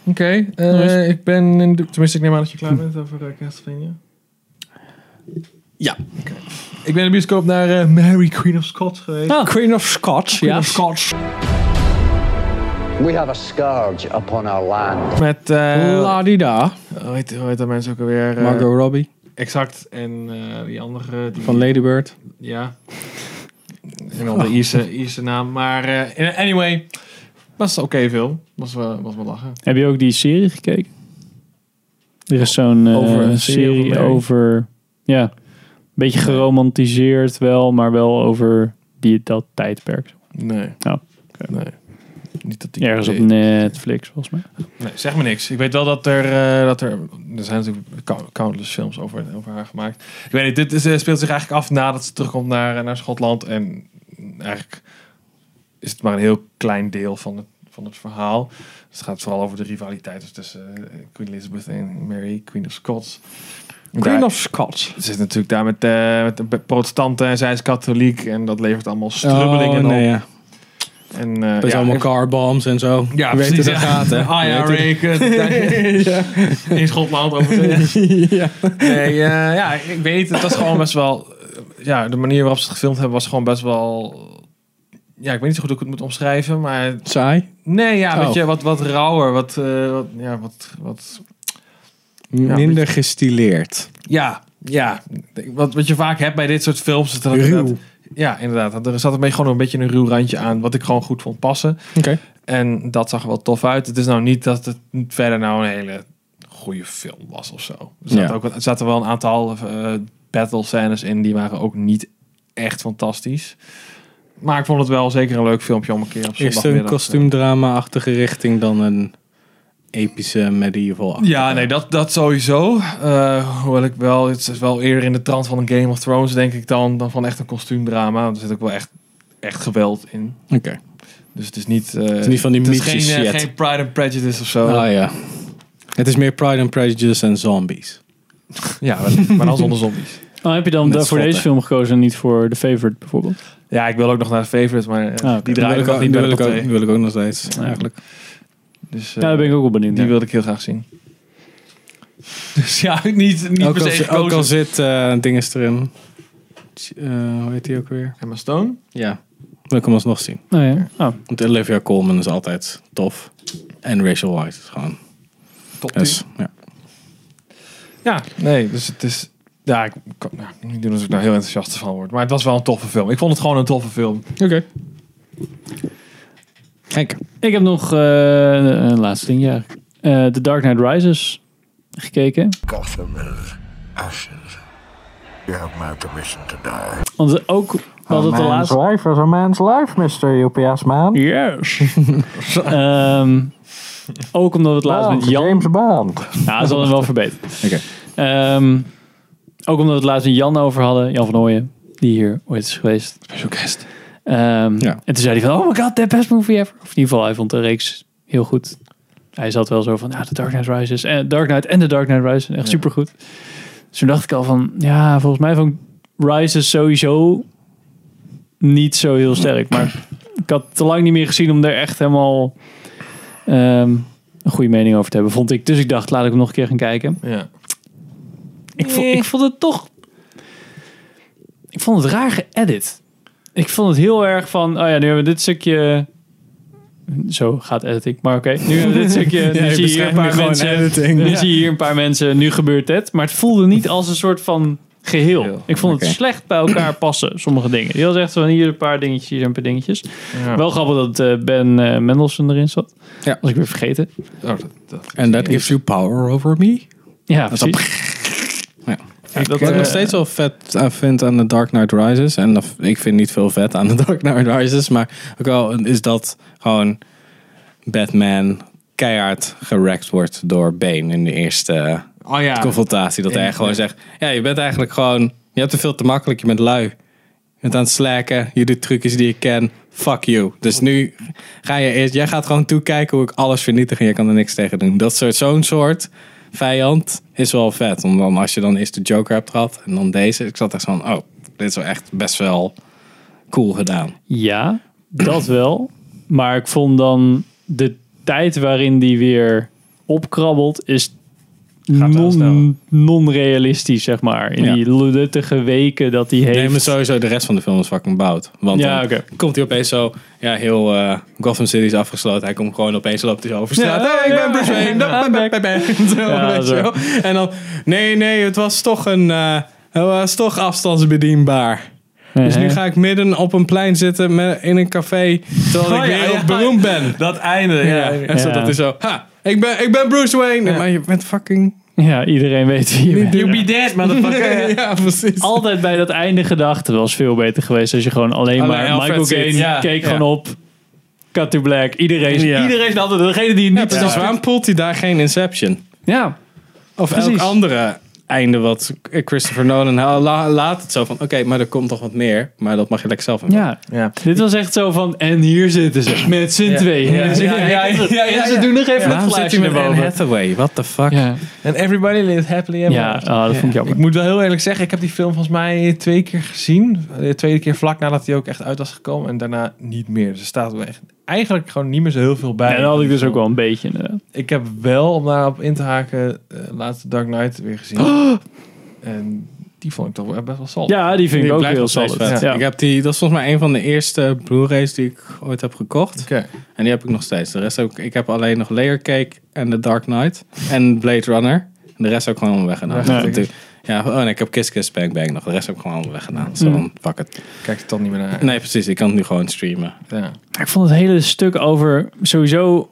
[SPEAKER 2] Oké, eh, ik ben... In de, tenminste, ik neem aan dat je klaar bent over eh, Castlevania.
[SPEAKER 1] Ja.
[SPEAKER 2] Ik ben in de bioscoop naar eh, Mary Queen of Scots geweest.
[SPEAKER 1] Queen of Scots.
[SPEAKER 2] Queen
[SPEAKER 1] Ja.
[SPEAKER 2] of Scots.
[SPEAKER 9] We have a scourge upon our land.
[SPEAKER 2] Met, eh
[SPEAKER 1] Ladida.
[SPEAKER 2] hoe, heet, hoe heet dat mensen ook alweer? eh,
[SPEAKER 1] Margot Robbie
[SPEAKER 2] Exact. En eh, die andere... Die,
[SPEAKER 1] van Ladybird.
[SPEAKER 2] Ja. En wel de (laughs) Ierse, Ierse naam. Maar eh, anyway, was oké film. Was, wel was wel lachen.
[SPEAKER 4] Heb je ook die serie gekeken? Er is zo'n eh,
[SPEAKER 2] Over een serie
[SPEAKER 4] serie
[SPEAKER 2] over Mary.
[SPEAKER 4] over, ja, een beetje geromantiseerd wel, maar wel over die, dat tijdperk.
[SPEAKER 2] Nee.
[SPEAKER 4] Oh.
[SPEAKER 2] Nee. Niet dat die
[SPEAKER 4] Ergens op Netflix, volgens mij.
[SPEAKER 2] Nee, zeg me niks. Ik weet wel dat er, eh, dat er, er zijn natuurlijk count- countless films over, over haar gemaakt. Ik weet niet, dit is, eh, speelt zich eigenlijk af nadat ze terugkomt naar, eh, naar Schotland. En eigenlijk is het maar een heel klein deel van het, van het verhaal. Dus het gaat vooral over de rivaliteit dus tussen eh, Queen Elizabeth en Mary, Queen of Scots. Daar-
[SPEAKER 1] Scots.
[SPEAKER 2] Ze is natuurlijk daar met, eh, met de be- protestanten en zij is katholiek. En dat levert allemaal strubbelingen
[SPEAKER 1] Strubbelingen
[SPEAKER 2] op.
[SPEAKER 1] Oh, nee, ja.
[SPEAKER 2] En, eh,
[SPEAKER 1] Dat is
[SPEAKER 2] ja,
[SPEAKER 1] allemaal
[SPEAKER 2] ik-
[SPEAKER 1] car bombs en zo.
[SPEAKER 2] Ja,
[SPEAKER 1] Je weet
[SPEAKER 2] precies,
[SPEAKER 1] hoe dat
[SPEAKER 2] ja. (laughs)
[SPEAKER 1] gaat, hè?
[SPEAKER 2] Ah ja,
[SPEAKER 1] Je weet
[SPEAKER 2] Rick.
[SPEAKER 1] (laughs)
[SPEAKER 2] (laughs) In Schotland over Nee, eh, ja, ik weet het. was gewoon best wel... eh, Ja, de manier waarop ze het gefilmd hebben was gewoon best wel... Ja, ik weet niet zo goed hoe ik het moet omschrijven, maar...
[SPEAKER 1] hoe- Saai.
[SPEAKER 2] Nee, ja,
[SPEAKER 1] Oh.
[SPEAKER 2] weet je, wat, wat rauwer, wat, eh, wat... Ja, wat... wat
[SPEAKER 1] Minder gestileerd.
[SPEAKER 2] ja, ja. Wat, wat je vaak hebt bij dit soort films... Is dat er
[SPEAKER 1] Ruw.
[SPEAKER 2] inderdaad- Ja, inderdaad. Er zat een beetje, gewoon een beetje een ruw randje aan, wat ik gewoon goed vond passen.
[SPEAKER 1] Oké.
[SPEAKER 2] En dat zag er wel tof uit. Het is nou niet dat het verder nou een hele goede film was of zo. Er zaten,
[SPEAKER 1] Ja.
[SPEAKER 2] ook, wat- er zaten wel een aantal eh, battle scènes in. Die waren ook niet echt fantastisch. Maar ik vond het wel zeker een leuk filmpje om een keer op
[SPEAKER 1] Is er een
[SPEAKER 2] zondagmiddag.
[SPEAKER 1] kostuumdrama-achtige richting dan een epische medieval?
[SPEAKER 2] eh. Ja, nee, dat, dat sowieso. Eh, hoewel ik wel, het is wel eerder in de trant van een Game of Thrones, denk ik dan, dan van echt een kostuumdrama. Want Er zit ook wel echt, echt geweld in.
[SPEAKER 1] Oké.
[SPEAKER 2] Dus het is niet, eh, het
[SPEAKER 1] is niet van die
[SPEAKER 2] het is geen,
[SPEAKER 1] mythische
[SPEAKER 2] eh,
[SPEAKER 1] shit.
[SPEAKER 2] geen Pride and Prejudice of zo.
[SPEAKER 1] Ah ja. Het is meer Pride and Prejudice en zombies.
[SPEAKER 2] Ja, wellicht, maar dan zonder zombies.
[SPEAKER 4] Oh, heb je dan
[SPEAKER 1] Met Eh,
[SPEAKER 4] voor
[SPEAKER 1] schotten.
[SPEAKER 4] deze film gekozen en niet voor The Favorite bijvoorbeeld?
[SPEAKER 2] Ja, ik wil ook nog naar de favorite, maar eh,
[SPEAKER 4] Ah, oké.
[SPEAKER 1] Die wil
[SPEAKER 2] die draai ik
[SPEAKER 1] ik
[SPEAKER 2] nog
[SPEAKER 1] ook,
[SPEAKER 2] niet
[SPEAKER 1] die
[SPEAKER 2] bij
[SPEAKER 1] wil
[SPEAKER 2] de
[SPEAKER 1] ik ook, die
[SPEAKER 2] partij.
[SPEAKER 1] wil ik ook nog steeds, eigenlijk.
[SPEAKER 2] Dus, eh,
[SPEAKER 4] Ja, Nou, daar ben ik ook wel benieuwd
[SPEAKER 2] Die
[SPEAKER 4] naar.
[SPEAKER 2] wilde ik heel graag zien. Dus ja, niet, niet
[SPEAKER 1] Ook
[SPEAKER 2] per
[SPEAKER 1] al,
[SPEAKER 2] se
[SPEAKER 1] zi- ook al
[SPEAKER 2] gekozen.
[SPEAKER 1] zit eh dinges erin. Tj- eh, hoe heet die ook weer?
[SPEAKER 2] Emma Stone?
[SPEAKER 1] Ja. Wil ik hem alsnog zien.
[SPEAKER 4] Oh, ja. Oh,
[SPEAKER 1] Want Olivia Colman is altijd tof. En Rachel White is gewoon...
[SPEAKER 2] Top
[SPEAKER 1] Dus, ja.
[SPEAKER 2] Ja, nee, dus het is... Ja, ik kan ja, niet doen als ik daar heel enthousiast van word. Maar het was wel een toffe film. Ik vond het gewoon een toffe film.
[SPEAKER 1] Oké. Henk.
[SPEAKER 4] Ik heb nog eh, een laatste ding, ja. Eh, The Dark Knight Rises gekeken.
[SPEAKER 10] Gotham is ashes. You have my permission to die.
[SPEAKER 4] Want ook, we hadden het de laatste...
[SPEAKER 2] life is a man's life, Mr. UPS man.
[SPEAKER 4] Yes. (laughs) Ehm, ook omdat we het laatst met Jan...
[SPEAKER 2] Bond.
[SPEAKER 4] Ja, dat is wel- wel verbeterd.
[SPEAKER 1] Oké.
[SPEAKER 4] Ehm, ook omdat we het laatst met Jan over hadden. Jan van Ooyen, die hier ooit is geweest.
[SPEAKER 2] Special guest.
[SPEAKER 4] Ehm,
[SPEAKER 1] Ja.
[SPEAKER 4] En toen zei hij van, oh my god, the best movie ever. Of in ieder geval, hij vond de reeks heel goed. Hij zat wel zo van, ja, The Dark Knight Rises. En Dark Knight en The Dark Knight Rises. Echt supergoed. Dus toen dacht ik al van, ja, volgens mij vond ik Rises sowieso niet zo heel sterk. Maar ik had te lang niet meer gezien om er echt helemaal ehm, een goede mening over te hebben, vond ik. Dus ik dacht, laat ik hem nog een keer gaan kijken.
[SPEAKER 2] Ja.
[SPEAKER 4] Ik, vond, ik vond het toch... Ik vond het raar geëdit. Ik vond het heel erg van... Oh ja, nu hebben we dit stukje... Zo gaat editing. Maar oké, nu hebben we dit
[SPEAKER 1] (laughs)
[SPEAKER 4] stukje.
[SPEAKER 1] Ja,
[SPEAKER 4] nu
[SPEAKER 1] je
[SPEAKER 4] zie je hier
[SPEAKER 1] beschrijft
[SPEAKER 4] een
[SPEAKER 1] nu
[SPEAKER 4] paar
[SPEAKER 1] gewoon
[SPEAKER 4] mensen.
[SPEAKER 1] editing.
[SPEAKER 4] Nu
[SPEAKER 1] Ja.
[SPEAKER 4] zie je hier een paar mensen. Nu gebeurt dit. Maar het voelde niet als een soort van geheel.
[SPEAKER 2] Geheel.
[SPEAKER 4] Ik vond
[SPEAKER 1] Oké.
[SPEAKER 4] het slecht bij
[SPEAKER 1] (clears throat)
[SPEAKER 4] elkaar passen, sommige dingen. Je was echt van hier een paar dingetjes, hier een paar dingetjes.
[SPEAKER 2] Ja.
[SPEAKER 4] Wel grappig dat eh, Ben eh Mendelssohn erin zat.
[SPEAKER 1] Ja.
[SPEAKER 4] Was ik weer vergeten.
[SPEAKER 2] Oh, dat, dat.
[SPEAKER 1] And that gives you power over me?
[SPEAKER 4] Ja,
[SPEAKER 1] is wel-
[SPEAKER 4] precies.
[SPEAKER 1] Ja.
[SPEAKER 4] Ik, dat,
[SPEAKER 1] Wat ik
[SPEAKER 4] eh,
[SPEAKER 1] nog steeds wel vet aan vind aan The Dark Knight Rises. En of- ik vind niet veel vet aan The Dark Knight Rises. Maar ook al is dat gewoon Batman keihard gerekt wordt door Bane in de eerste
[SPEAKER 2] Oh ja.
[SPEAKER 1] confrontatie. Dat hij
[SPEAKER 2] Ja.
[SPEAKER 1] gewoon zegt, ja, je bent eigenlijk gewoon... Je hebt het veel te makkelijk, je bent lui. Je bent aan het slacken, je doet trucjes die ik ken. Fuck you. Dus nu ga je eerst... Jij gaat gewoon toekijken hoe ik alles vernietig en je kan er niks tegen doen. Dat soort, zo'n soort vijand is wel vet. Om dan, als je dan eerst de Joker hebt gehad en dan deze. Ik zat echt van, oh, dit is wel echt best wel cool gedaan.
[SPEAKER 4] Ja, dat wel. Maar ik vond dan de tijd waarin die weer opkrabbelt is
[SPEAKER 2] wel snel.
[SPEAKER 4] non- non-realistisch, zeg maar. In
[SPEAKER 1] Ja.
[SPEAKER 4] die luttige weken dat hij
[SPEAKER 1] Nee,
[SPEAKER 4] heeft.
[SPEAKER 1] maar sowieso de rest van de film is fucking bout. Want
[SPEAKER 4] Ja,
[SPEAKER 1] dan
[SPEAKER 4] oké.
[SPEAKER 1] komt hij opeens zo... Ja, heel eh, Gotham City is afgesloten. Hij komt gewoon opeens loopt hij zo over straat.
[SPEAKER 4] Ja,
[SPEAKER 1] hey, ik
[SPEAKER 4] ja.
[SPEAKER 1] ben Bruce Wayne.
[SPEAKER 4] Ja,
[SPEAKER 1] Bam, bam, bam, bam. (laughs) Zo,
[SPEAKER 4] Ja,
[SPEAKER 1] weet
[SPEAKER 4] zo.
[SPEAKER 1] je wel. En dan... Nee, nee, het was toch een... eh, het was toch afstandsbedienbaar. Dus nu ga ik midden op een plein zitten met, in een café... terwijl
[SPEAKER 2] Oh,
[SPEAKER 1] ik
[SPEAKER 2] ja,
[SPEAKER 1] weer heel
[SPEAKER 2] ja.
[SPEAKER 1] beroemd ben.
[SPEAKER 2] Dat einde,
[SPEAKER 1] Ja,
[SPEAKER 2] ja.
[SPEAKER 1] en zo,
[SPEAKER 4] Ja.
[SPEAKER 1] dat is zo... Ha, ik ben, ik ben Bruce Wayne. Maar je bent fucking...
[SPEAKER 4] Ja, iedereen weet wie je bent.
[SPEAKER 2] You be dead,
[SPEAKER 1] (laughs)
[SPEAKER 2] motherfucker.
[SPEAKER 1] ja, precies.
[SPEAKER 4] Altijd bij dat einde gedacht. Het was veel beter geweest als je gewoon alleen,
[SPEAKER 1] Alleen
[SPEAKER 4] maar
[SPEAKER 1] Alfred
[SPEAKER 4] Michael
[SPEAKER 1] ziet.
[SPEAKER 4] Caine
[SPEAKER 1] Ja,
[SPEAKER 4] keek
[SPEAKER 1] ja.
[SPEAKER 4] gewoon op. Cut to black. Iedereen, is-
[SPEAKER 1] Ja.
[SPEAKER 4] iedereen is altijd degene die het
[SPEAKER 1] Ja,
[SPEAKER 4] niet
[SPEAKER 1] precies.
[SPEAKER 4] snapt.
[SPEAKER 1] Dus Waarom poelt hij daar geen Inception?
[SPEAKER 4] Ja.
[SPEAKER 1] Of elk
[SPEAKER 4] Precies.
[SPEAKER 1] andere einde wat Christopher Nolan ha- la- laat het zo van, oké, maar er komt nog wat meer, maar dat mag je lekker zelf aan doen.
[SPEAKER 4] ja,
[SPEAKER 2] Ja.
[SPEAKER 4] Dit was echt zo van, en hier zitten ze, met z'n tweeën.
[SPEAKER 2] Ja,
[SPEAKER 4] En ze-
[SPEAKER 2] ja, ja, ja, ja, ja.
[SPEAKER 4] en ze doen nog even het
[SPEAKER 1] Waarom zit
[SPEAKER 4] glaasje
[SPEAKER 1] hij met Anne
[SPEAKER 4] erboven.
[SPEAKER 1] Hathaway? What the fuck?
[SPEAKER 4] Ja,
[SPEAKER 2] En everybody lives happily ever
[SPEAKER 4] ja
[SPEAKER 2] after.
[SPEAKER 4] ah, dat vond ik
[SPEAKER 2] Ik
[SPEAKER 4] jammer.
[SPEAKER 2] moet wel heel eerlijk zeggen, ik heb die film volgens mij twee keer gezien. De tweede keer vlak nadat hij ook echt uit was gekomen. En daarna niet meer. Dus er staat wel echt, eigenlijk gewoon niet meer zo heel veel bij.
[SPEAKER 4] Ja, dat had ik dus ook wel een beetje inderdaad.
[SPEAKER 2] Ik heb wel, om daarop in te haken, eh, laatste Dark Knight weer gezien.
[SPEAKER 4] (gasps)
[SPEAKER 2] En die vond ik toch wel best wel zalt.
[SPEAKER 4] Ja, die vind ik
[SPEAKER 1] Die
[SPEAKER 4] ook
[SPEAKER 1] blijft
[SPEAKER 4] heel
[SPEAKER 1] nog steeds
[SPEAKER 4] solid.
[SPEAKER 1] vet.
[SPEAKER 4] Ja.
[SPEAKER 1] Ik heb die, dat is volgens mij een van de eerste Blu-rays die ik ooit heb gekocht.
[SPEAKER 2] Oké.
[SPEAKER 1] En die heb ik nog steeds. De rest heb ik, ik heb alleen nog Layer Cake en The Dark Knight en Blade Runner. En de rest heb ik gewoon allemaal weggedaan.
[SPEAKER 2] Ja.
[SPEAKER 1] Ja, ja, oh nee, ik heb Kiss Kiss Bang Bang nog. De rest heb ik gewoon allemaal
[SPEAKER 4] Mm.
[SPEAKER 1] weggedaan. Zo, dan pak het.
[SPEAKER 2] Kijk er toch niet meer naar.
[SPEAKER 1] Nee, precies. Ik kan het nu gewoon streamen.
[SPEAKER 2] Ja.
[SPEAKER 4] Maar ik vond het hele stuk over sowieso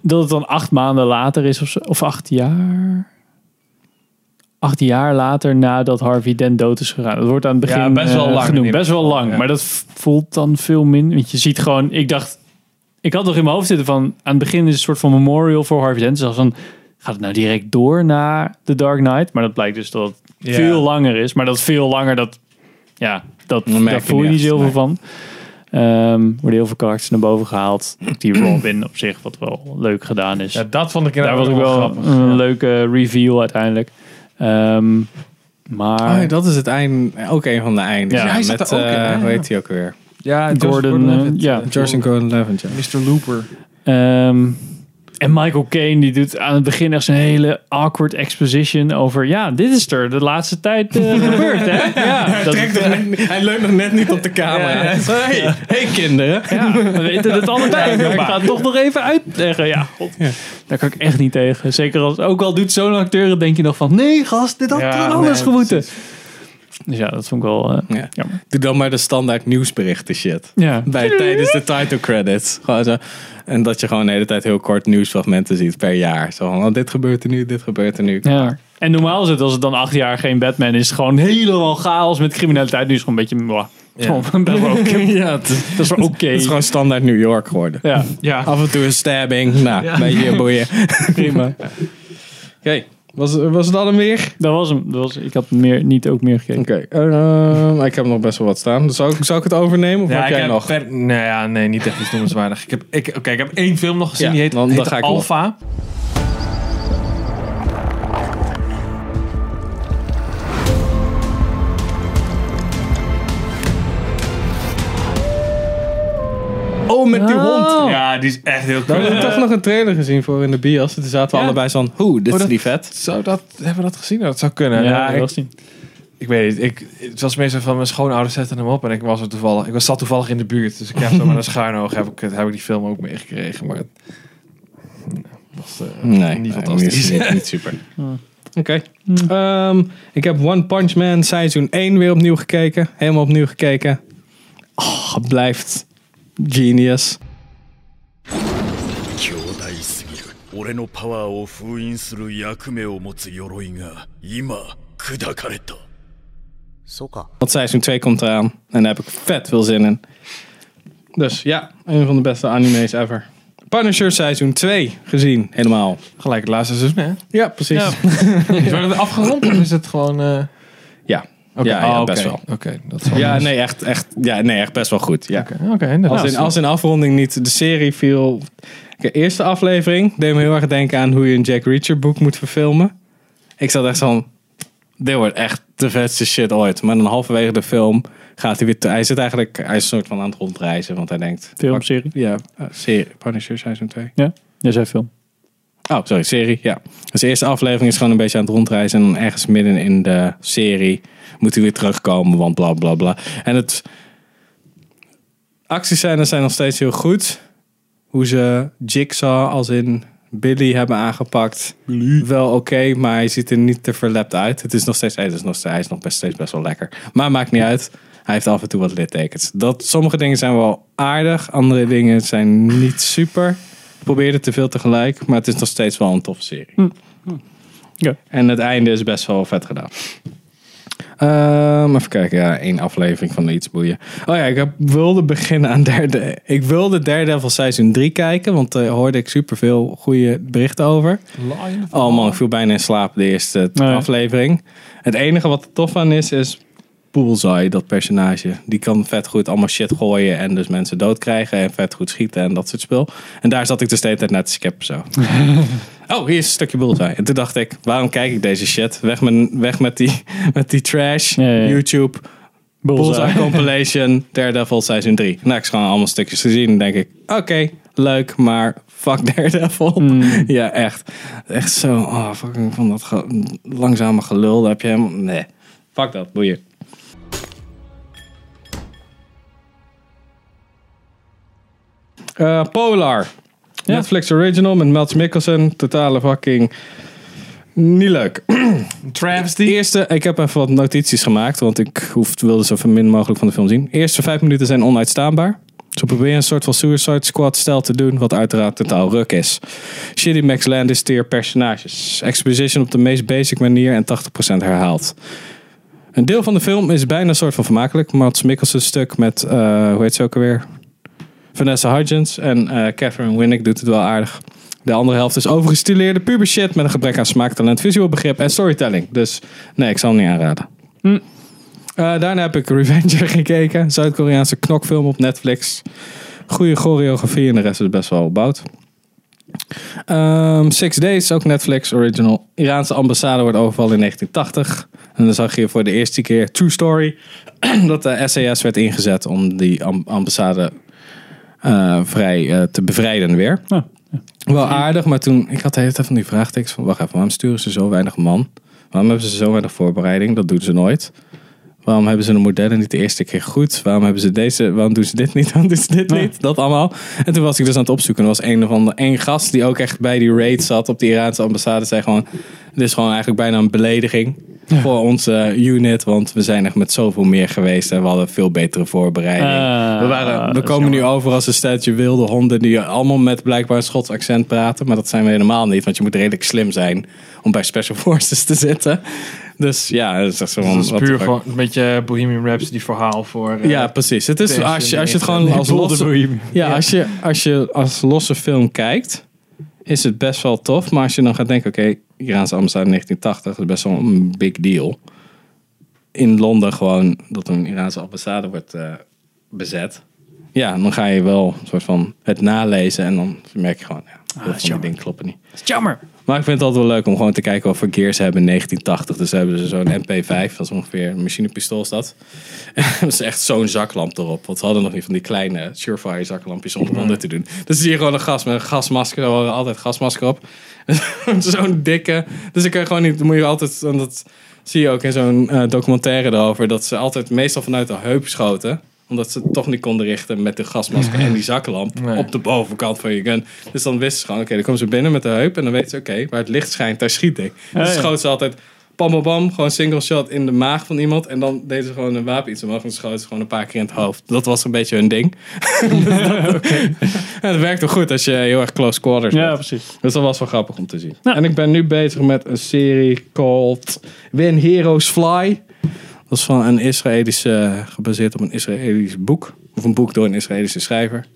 [SPEAKER 4] dat het dan acht maanden later is of, zo, of acht jaar. acht jaar later nadat Harvey Dent dood is gegaan. Dat wordt aan het begin
[SPEAKER 2] Ja, best wel
[SPEAKER 4] eh,
[SPEAKER 2] lang in
[SPEAKER 4] genoemd.
[SPEAKER 2] ieder
[SPEAKER 4] Best wel
[SPEAKER 2] geval,
[SPEAKER 4] lang.
[SPEAKER 2] ja.
[SPEAKER 4] Maar dat v- voelt dan veel minder. Want je ziet gewoon, ik dacht, ik had nog in mijn hoofd zitten van, aan het begin is een soort van memorial voor Harvey Dent. Dus als dan, gaat het nou direct door naar The Dark Knight? Maar dat blijkt dus dat het
[SPEAKER 2] Ja.
[SPEAKER 4] veel langer is. Maar dat veel langer, dat, ja, dat,
[SPEAKER 1] Dan merk
[SPEAKER 4] daar
[SPEAKER 1] je
[SPEAKER 4] voel je
[SPEAKER 1] niet
[SPEAKER 4] niet
[SPEAKER 1] echt,
[SPEAKER 4] zoveel van. Ehm, worden heel veel karakters naar boven gehaald.
[SPEAKER 2] (clears throat)
[SPEAKER 4] Die Robin op zich, wat wel leuk gedaan is.
[SPEAKER 2] Ja, dat vond ik
[SPEAKER 4] Daar was
[SPEAKER 2] inderdaad
[SPEAKER 4] ook
[SPEAKER 2] wel
[SPEAKER 4] wel eh,
[SPEAKER 2] grappig.
[SPEAKER 4] een leuke reveal uiteindelijk. Ehm, maar
[SPEAKER 2] Ah,
[SPEAKER 1] Oh, dat is het einde. Ook een van de eindes.
[SPEAKER 4] Ja,
[SPEAKER 1] Ja,
[SPEAKER 2] hij zat
[SPEAKER 1] met,
[SPEAKER 2] er ook in,
[SPEAKER 1] eh,
[SPEAKER 2] ja.
[SPEAKER 1] hoe heet hij ook weer?
[SPEAKER 2] Ja,
[SPEAKER 4] Gordon, eh, ja.
[SPEAKER 1] George and Gordon Levitt, ja.
[SPEAKER 2] Mr. Looper.
[SPEAKER 4] ehm, en Michael Caine die doet aan het begin echt zo'n hele awkward exposition over ja, dit is er de laatste
[SPEAKER 2] (laughs)
[SPEAKER 4] tijd eh, gebeurd, hè? Ja, dat,
[SPEAKER 1] Hij leunt nog net niet op de camera. hey, hey, kinderen.
[SPEAKER 4] ja, we weten
[SPEAKER 2] (laughs)
[SPEAKER 4] het allebei. maar ik ga het toch nog even uitleggen. Ja, god, daar kan ik echt niet tegen. Zeker als ook al doet zo'n acteur, het, denk je nog van nee, gast, dit had
[SPEAKER 2] Ja,
[SPEAKER 4] toch anders
[SPEAKER 2] nee,
[SPEAKER 4] gemoeten. Dus ja, dat vond ik wel. eh,
[SPEAKER 1] Ja.
[SPEAKER 4] jammer.
[SPEAKER 1] Doe dan maar de standaard nieuwsberichten shit.
[SPEAKER 4] Ja.
[SPEAKER 1] Bij, tijdens de title credits. Gewoon zo. En dat je gewoon de hele tijd heel kort nieuwsfragmenten ziet per jaar. Zo van, oh, dit gebeurt er nu, dit gebeurt er nu.
[SPEAKER 4] Ja. En normaal is het, als het dan acht jaar geen Batman is, het gewoon helemaal chaos met criminaliteit. Nu is het gewoon een beetje. mwah. Het is gewoon (laughs) best wel oké.
[SPEAKER 1] het,
[SPEAKER 4] Dat is wel oké.
[SPEAKER 1] het is gewoon standaard New York geworden.
[SPEAKER 4] Ja,
[SPEAKER 2] Ja.
[SPEAKER 1] Af en toe een stabbing. Nou, een beetje (laughs) boeien.
[SPEAKER 4] prima.
[SPEAKER 1] Oké, was, was het allemaal weer?
[SPEAKER 4] Dat was hem. Dat was, ik had meer, niet ook meer gekeken.
[SPEAKER 1] Oké, ehm, ik heb nog best wel wat staan. Zou ik, zou ik het overnemen of
[SPEAKER 2] Ja,
[SPEAKER 1] heb
[SPEAKER 2] ik
[SPEAKER 1] jij
[SPEAKER 2] heb
[SPEAKER 1] nog?
[SPEAKER 2] ver- nou ja, nee, niet echt iets noemenswaardig. Ik heb, ik, oké, ik heb één film nog gezien,
[SPEAKER 1] Ja,
[SPEAKER 2] die heet,
[SPEAKER 1] dan- dan
[SPEAKER 2] heette
[SPEAKER 1] ga ik wel.
[SPEAKER 2] Alpha.
[SPEAKER 1] Oh, met die hond!
[SPEAKER 2] Ja, die is echt heel
[SPEAKER 1] Daar
[SPEAKER 2] cool.
[SPEAKER 1] hebben we toch nog een trailer gezien voor in de bios. Toen zaten we
[SPEAKER 2] Ja.
[SPEAKER 1] allebei zo van, oeh, dit
[SPEAKER 2] Oh,
[SPEAKER 1] is
[SPEAKER 2] dat-
[SPEAKER 1] die vet.
[SPEAKER 2] Zou dat, hebben we dat gezien? Nou, Dat zou kunnen.
[SPEAKER 4] ja, dat
[SPEAKER 2] ik,
[SPEAKER 4] was die.
[SPEAKER 2] ik weet niet. Ik, het was meestal van mijn schoonouders zetten hem op en ik was er toevallig. Ik was zat toevallig in de buurt, dus ik heb
[SPEAKER 1] (laughs)
[SPEAKER 2] zo maar een schuin oog. Heb ik, het- heb ik die film ook meegekregen, maar het was eh,
[SPEAKER 1] Nee,
[SPEAKER 2] niet
[SPEAKER 1] nee,
[SPEAKER 2] fantastisch. Hmm.
[SPEAKER 1] Niet, niet
[SPEAKER 2] (laughs)
[SPEAKER 1] super. Oké. Ehm, ik heb One Punch Man seizoen 1 weer opnieuw gekeken. Helemaal opnieuw gekeken. Oh, het blijft genius.
[SPEAKER 11] 強大すぎる俺のパワーを封印する役目を持つ鎧が今砕かれた
[SPEAKER 1] Want seizoen 2 komt eraan. En daar heb ik vet veel zin in. Dus ja, een van de beste anime's ever. Punisher seizoen 2 gezien, helemaal.
[SPEAKER 2] Gelijk het laatste seizoen, hè?
[SPEAKER 1] Ja, precies. Ja,
[SPEAKER 2] Is het afgerond of is het gewoon... eh,
[SPEAKER 1] ja,
[SPEAKER 2] Oké,
[SPEAKER 1] ja,
[SPEAKER 2] ah,
[SPEAKER 1] best
[SPEAKER 2] oké.
[SPEAKER 1] wel.
[SPEAKER 2] Oké, dat zal
[SPEAKER 1] Ja, nee, echt, echt, ja, nee, echt best wel goed. Ja.
[SPEAKER 2] Oké, Nou, oké, dat
[SPEAKER 1] Als,
[SPEAKER 2] is-
[SPEAKER 1] in, als in afronding niet, de serie viel... De eerste aflevering deed me heel erg denken aan hoe je een Jack Reacher boek moet verfilmen. Ik zat echt zo van, dit wordt echt de vetste shit ooit. Maar dan halverwege de film gaat hij weer... te- hij zit eigenlijk, hij is een soort van aan het rondreizen, want hij denkt...
[SPEAKER 4] Film, serie?
[SPEAKER 1] Ja, eh, serie, Punisher seizoen 2.
[SPEAKER 4] Ja, jij zei film.
[SPEAKER 1] Oh, sorry, serie, ja. Dus de eerste aflevering is gewoon een beetje aan het rondreizen. En dan ergens midden in de serie moet hij weer terugkomen, want bla bla bla. En het... Actiescènes zijn nog steeds heel goed. Hoe ze Jigsaw als in Billy hebben aangepakt. Wel oké, maar hij ziet er niet te verlept uit. Het is nog steeds, hij is nog, hij is nog best, steeds best wel lekker. Maar maakt niet uit. Hij heeft af en toe wat littekens. Dat, sommige dingen zijn wel aardig. Andere dingen zijn niet super. Probeerde te veel tegelijk. Maar het is nog steeds wel een toffe serie.
[SPEAKER 4] Ja.
[SPEAKER 1] En het einde is best wel vet gedaan. Ehm, even kijken, ja, één aflevering van iets boeien. Oh ja, ik heb, wilde beginnen aan derde. Ik wilde Daredevil seizoen 3 kijken, want daar hoorde ik superveel goede berichten over. Oh man, ik viel bijna in slaap de eerste t-
[SPEAKER 4] Nee.
[SPEAKER 1] aflevering. Het enige wat er tof aan is, is Bullseye, dat personage. Die kan vet goed allemaal shit gooien en dus mensen dood krijgen en vet goed schieten en dat soort spul. En daar zat ik dus de hele tijd naar te skippen zo. Oh, hier is een stukje Bullseye. En toen dacht ik, waarom kijk ik deze shit? Weg met, weg met, die, (laughs) met die trash,
[SPEAKER 4] Ja, ja, ja.
[SPEAKER 1] YouTube, Bullseye, (laughs) Compilation, Daredevil Season 3. Nou, ik heb gewoon allemaal stukjes gezien en denk ik, oké, leuk, maar fuck Daredevil. (laughs) Ja, echt. Echt zo, oh, fucking van dat ge- langzame gelul, daar heb je helemaal, nee. Fuck dat, boeien. Eh, Polar. Netflix Original met Mads Mikkelsen. Totale fucking... Niet leuk.
[SPEAKER 2] Travesty.
[SPEAKER 1] De eerste, ik heb even wat notities gemaakt, want ik hoef, wilde zo min mogelijk van de film zien. De eerste vijf minuten zijn onuitstaanbaar. Ze proberen een soort van Suicide Squad-stijl te doen, wat uiteraard totaal ruk is. Shitty Max Landis tier personages. Exposition op de meest basic manier en 80% herhaald. Een deel van de film is bijna een soort van vermakelijk. Mads Mikkelsen's stuk met, eh, hoe heet ze ook alweer? Vanessa Hudgens en eh, Catherine Winnick doet het wel aardig. De andere helft is overgestileerde puber shit met een gebrek aan smaak, talent, visueel begrip en storytelling. Dus nee, ik zal hem niet aanraden. Eh, daarna heb ik Revenger (laughs) gekeken. Zuid-Koreaanse knokfilm op Netflix. Goede choreografie en de rest is best wel opbouwd. Ehm, Six Days, ook Netflix original. Iraanse ambassade wordt overvallen in 1980. En dan zag je voor de eerste keer True Story (clears throat) dat de SAS werd ingezet om die am- ambassade eh, vrij eh, te bevrijden weer.
[SPEAKER 4] Ah,
[SPEAKER 1] Wel aardig, maar toen... Ik had de hele tijd van die vraagtekens van... Wacht even, waarom sturen ze zo weinig man? Waarom hebben ze zo weinig voorbereiding? Dat doen ze nooit. Waarom hebben ze de modellen niet de eerste keer goed? Waarom hebben ze deze? Waarom doen ze dit niet? (laughs) Waarom doen ze dit niet? Dat allemaal. En toen was ik dus aan het opzoeken. Er was een of ander één gast die ook echt bij die raid zat op de Iraanse ambassade. Zei gewoon: Dit is gewoon eigenlijk bijna een belediging voor onze eh, unit. Want we zijn echt met zoveel meer geweest en we hadden veel betere voorbereiding.
[SPEAKER 4] Ah,
[SPEAKER 1] we, waren, we
[SPEAKER 4] dat is
[SPEAKER 1] komen nu over als een steltje wilde honden die allemaal met blijkbaar een Schots accent praten. Maar dat zijn we helemaal niet, want je moet redelijk slim zijn om bij Special (laughs) Forces te zitten. Dus ja, dat is echt zo
[SPEAKER 2] Dat
[SPEAKER 1] van,
[SPEAKER 2] is
[SPEAKER 1] what the
[SPEAKER 2] puur
[SPEAKER 1] fuck.
[SPEAKER 2] gewoon een beetje Bohemian Rhapsody verhaal voor... eh,
[SPEAKER 1] Ja, precies. Het is
[SPEAKER 2] Tension
[SPEAKER 1] als je, als je het
[SPEAKER 2] en-
[SPEAKER 1] gewoon
[SPEAKER 2] en
[SPEAKER 1] als
[SPEAKER 2] Bolder
[SPEAKER 1] losse,
[SPEAKER 2] Bohemian.
[SPEAKER 1] ja, als je, als je als losse film kijkt, is het best wel tof. Maar als je dan gaat denken, oké, Iraanse ambassade 1980 is best wel een big deal. In Londen gewoon dat een Iraanse ambassade wordt eh, bezet. Ja, dan ga je wel een soort van het nalezen en dan merk je gewoon, ja, heel veel van die dingen kloppen niet.
[SPEAKER 4] is jammer.
[SPEAKER 1] Maar ik vind het altijd wel leuk om gewoon te kijken wat voor gears ze hebben in 1980. Dus hebben ze zo'n MP5, dat is ongeveer een machinepistool is dat. (laughs) En dat is echt zo'n zaklamp erop. Want ze hadden nog niet van die kleine Surefire zaklampjes om onder te doen. Dus zie je gewoon een gas met een gasmasker. We hadden altijd gasmasker op. (laughs) zo'n dikke. Dus ik kan je gewoon niet, dan moet je altijd, en dat zie je ook in zo'n eh, documentaire erover, dat ze altijd meestal vanuit de heup schoten omdat ze het toch niet konden richten met de gasmasker en die zaklamp
[SPEAKER 2] Nee.
[SPEAKER 1] op de bovenkant van je gun. Dus dan wisten ze gewoon, oké, dan komen ze binnen met de heup en dan weten ze, oké, waar het licht schijnt, daar schiet ik. Dus
[SPEAKER 4] ja.
[SPEAKER 1] schoten ze altijd bam, bam, bam, gewoon single shot in de maag van iemand en dan deden ze gewoon een wapen iets omhoog en schoten ze gewoon een paar keer in het hoofd. Dat was een beetje hun
[SPEAKER 4] (laughs)
[SPEAKER 1] ding. (laughs) En (laughs) het werkt wel goed als je heel erg close quarters
[SPEAKER 4] Ja,
[SPEAKER 1] bent.
[SPEAKER 4] precies.
[SPEAKER 1] Dus dat was wel grappig om te zien. En ik ben nu bezig met een serie called When Heroes Fly. Dat is van een Israëlische, gebaseerd op een Israëlisch boek. Of een boek door een Israëlische schrijver.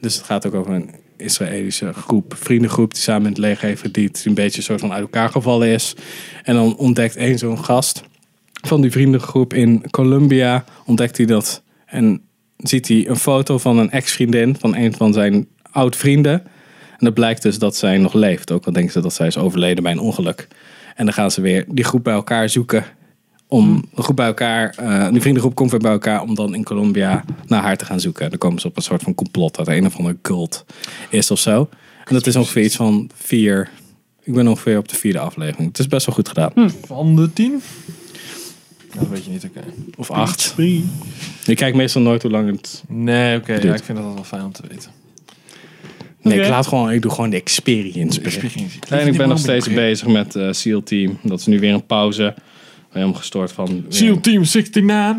[SPEAKER 1] Dus het gaat ook over een Israëlische groep, vriendengroep die samen in het leger heeft gediend. Die een beetje soort van uit elkaar gevallen is. En dan ontdekt één zo'n gast van die vriendengroep in Colombia. Ontdekt hij dat en ziet hij een foto van een ex-vriendin van een van zijn oud-vrienden. En dat blijkt dus dat zij nog leeft. Ook al denken ze dat zij is overleden bij een ongeluk. En dan gaan ze weer die groep bij elkaar zoeken. Om de groep bij elkaar, eh, die vriendengroep komt weer bij elkaar om dan in Colombia naar haar te gaan zoeken. En dan komen ze op een soort van complot dat er een of andere cult is of zo. En dat is ongeveer iets van vier. Ik ben ongeveer op de vierde aflevering. Het is best wel goed gedaan.
[SPEAKER 2] Van de tien? Dat weet je niet, oké.
[SPEAKER 1] Of acht. Ik kijk meestal nooit hoe lang het.
[SPEAKER 2] Nee, oké.
[SPEAKER 1] Dude.
[SPEAKER 2] ja, ik vind dat wel fijn om te weten.
[SPEAKER 1] Nee,
[SPEAKER 4] Oké.
[SPEAKER 1] ik laat gewoon. Ik doe gewoon de experience. weer. En ik ben nog steeds bezig met eh, SEAL Team. Dat is nu weer een pauze. Ik ben helemaal gestoord van. weer-
[SPEAKER 2] SEAL Team 69.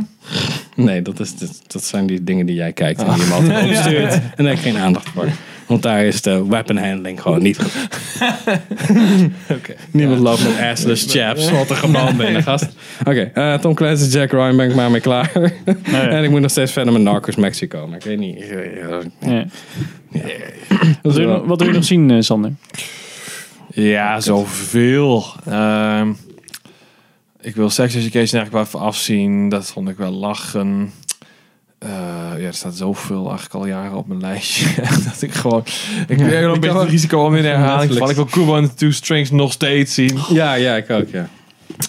[SPEAKER 1] Nee, dat, is, dat, dat zijn die dingen die jij kijkt en die je me altijd
[SPEAKER 2] Ah. (laughs)
[SPEAKER 1] opstuurt. En daar heb ik geen aandacht voor. Want daar is de weapon handling gewoon niet
[SPEAKER 2] (laughs)
[SPEAKER 1] goed.
[SPEAKER 2] Oké.
[SPEAKER 1] Niemand loopt met assless chaps. Wat een gewoon ben je, gast. Oké, eh, Tom Clancy, Jack Ryan ben ik maar mee klaar. (laughs) En ik moet nog steeds verder met Narcos Mexico. Maar ik eh, weet niet.
[SPEAKER 4] Ja.
[SPEAKER 1] Dat
[SPEAKER 4] Wat,
[SPEAKER 1] is
[SPEAKER 4] wil je, nog-
[SPEAKER 1] wel-
[SPEAKER 4] wat wil je nog zien, eh, Sander?
[SPEAKER 2] Ja, zoveel. Ehm, ik wil Sex Education eigenlijk wel even afzien. Dat vond ik wel lachen. Eh, ja, er staat zoveel eigenlijk al jaren op mijn lijstje. (laughs) dat ik gewoon... Ik ben wel een beetje het risico om in herhaling te vallen. Ik wil Kubo en de Two Strings nog steeds zien.
[SPEAKER 1] Ja, ja, ik ook, ja.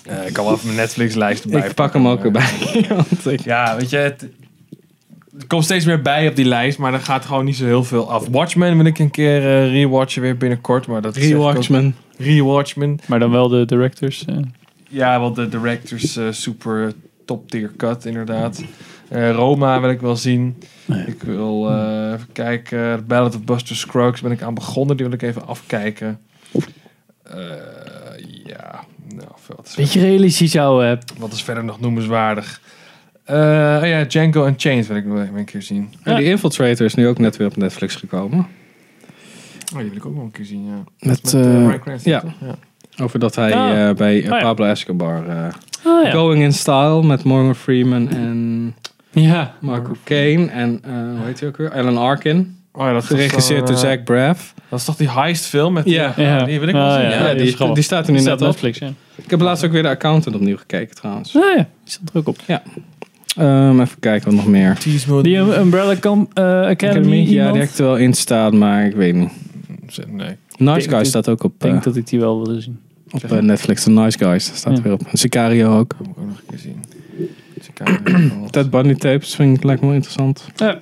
[SPEAKER 2] Eh, ik kan wel even mijn Netflix-lijst erbij
[SPEAKER 1] Ik pak hem ook erbij. (laughs) want ik-
[SPEAKER 2] Ja, weet je... Het, er komt steeds meer bij op die lijst, maar er gaat gewoon niet zo heel veel af. Watchmen wil ik een keer eh, rewatchen weer binnenkort, maar dat is echt ook-
[SPEAKER 1] Rewatchmen.
[SPEAKER 2] Rewatchmen.
[SPEAKER 4] Maar dan wel de directors. eh.
[SPEAKER 2] Ja, want de directors eh, super top tier cut inderdaad. Eh, Roma wil ik wel zien. Ik wil eh, even kijken. The Ballad of Buster Scruggs ben ik aan begonnen. Die wil ik even afkijken. Eh, ja, nou, wat is,
[SPEAKER 4] Beetje realistisch, ouwe.
[SPEAKER 2] wat is verder nog noemenswaardig? Eh, oh ja, Django Unchained wil ik nog even een keer zien.
[SPEAKER 1] En die Infiltrator is nu ook net weer op Netflix gekomen.
[SPEAKER 2] Oh, die wil ik ook nog een keer zien, ja.
[SPEAKER 1] Met,
[SPEAKER 2] eh,
[SPEAKER 1] eh,
[SPEAKER 2] Bryan Cranston,
[SPEAKER 1] ja.
[SPEAKER 2] toch? ja.
[SPEAKER 1] Over dat hij
[SPEAKER 2] Ah.
[SPEAKER 1] eh, bij eh,
[SPEAKER 2] Oh ja.
[SPEAKER 1] Pablo Escobar... eh,
[SPEAKER 2] Ah, ja.
[SPEAKER 1] Going in Style met Morgan Freeman en...
[SPEAKER 4] Ja.
[SPEAKER 1] Michael Caine en... eh, hoe heet hij ook weer? Alan Arkin.
[SPEAKER 2] Oh ja, dat is toch
[SPEAKER 1] Geregisseerd door
[SPEAKER 2] zo'n, eh,
[SPEAKER 1] Zack Braff.
[SPEAKER 2] Dat is toch die heist film met...
[SPEAKER 1] Ja. Ah,
[SPEAKER 2] die, die wil ik wel zien.
[SPEAKER 1] Ja, die, die, staat er nu net op. Ik heb laatst ook weer de accountant opnieuw gekeken trouwens.
[SPEAKER 4] Ja, ja. Die staat er ook op.
[SPEAKER 1] Ja. Ehm, even kijken wat nog meer.
[SPEAKER 4] Die Um- Umbrella Com- eh, Academy.
[SPEAKER 1] Ja,
[SPEAKER 4] iemand?
[SPEAKER 1] die heb ik er wel in staat, maar ik weet niet.
[SPEAKER 2] Nee.
[SPEAKER 1] Nice
[SPEAKER 4] Ik denk
[SPEAKER 1] Guys
[SPEAKER 4] dat-
[SPEAKER 1] staat ook op,
[SPEAKER 4] Ik denk
[SPEAKER 1] eh,
[SPEAKER 4] dat ik die wel wil zien.
[SPEAKER 1] op eh, Netflix. De Nice Guys staat weer op. Sicario ook.
[SPEAKER 2] Moet ik ook nog een keer zien.
[SPEAKER 1] Ted Bundy tapes vind ik lijkt me wel interessant.
[SPEAKER 4] Ja.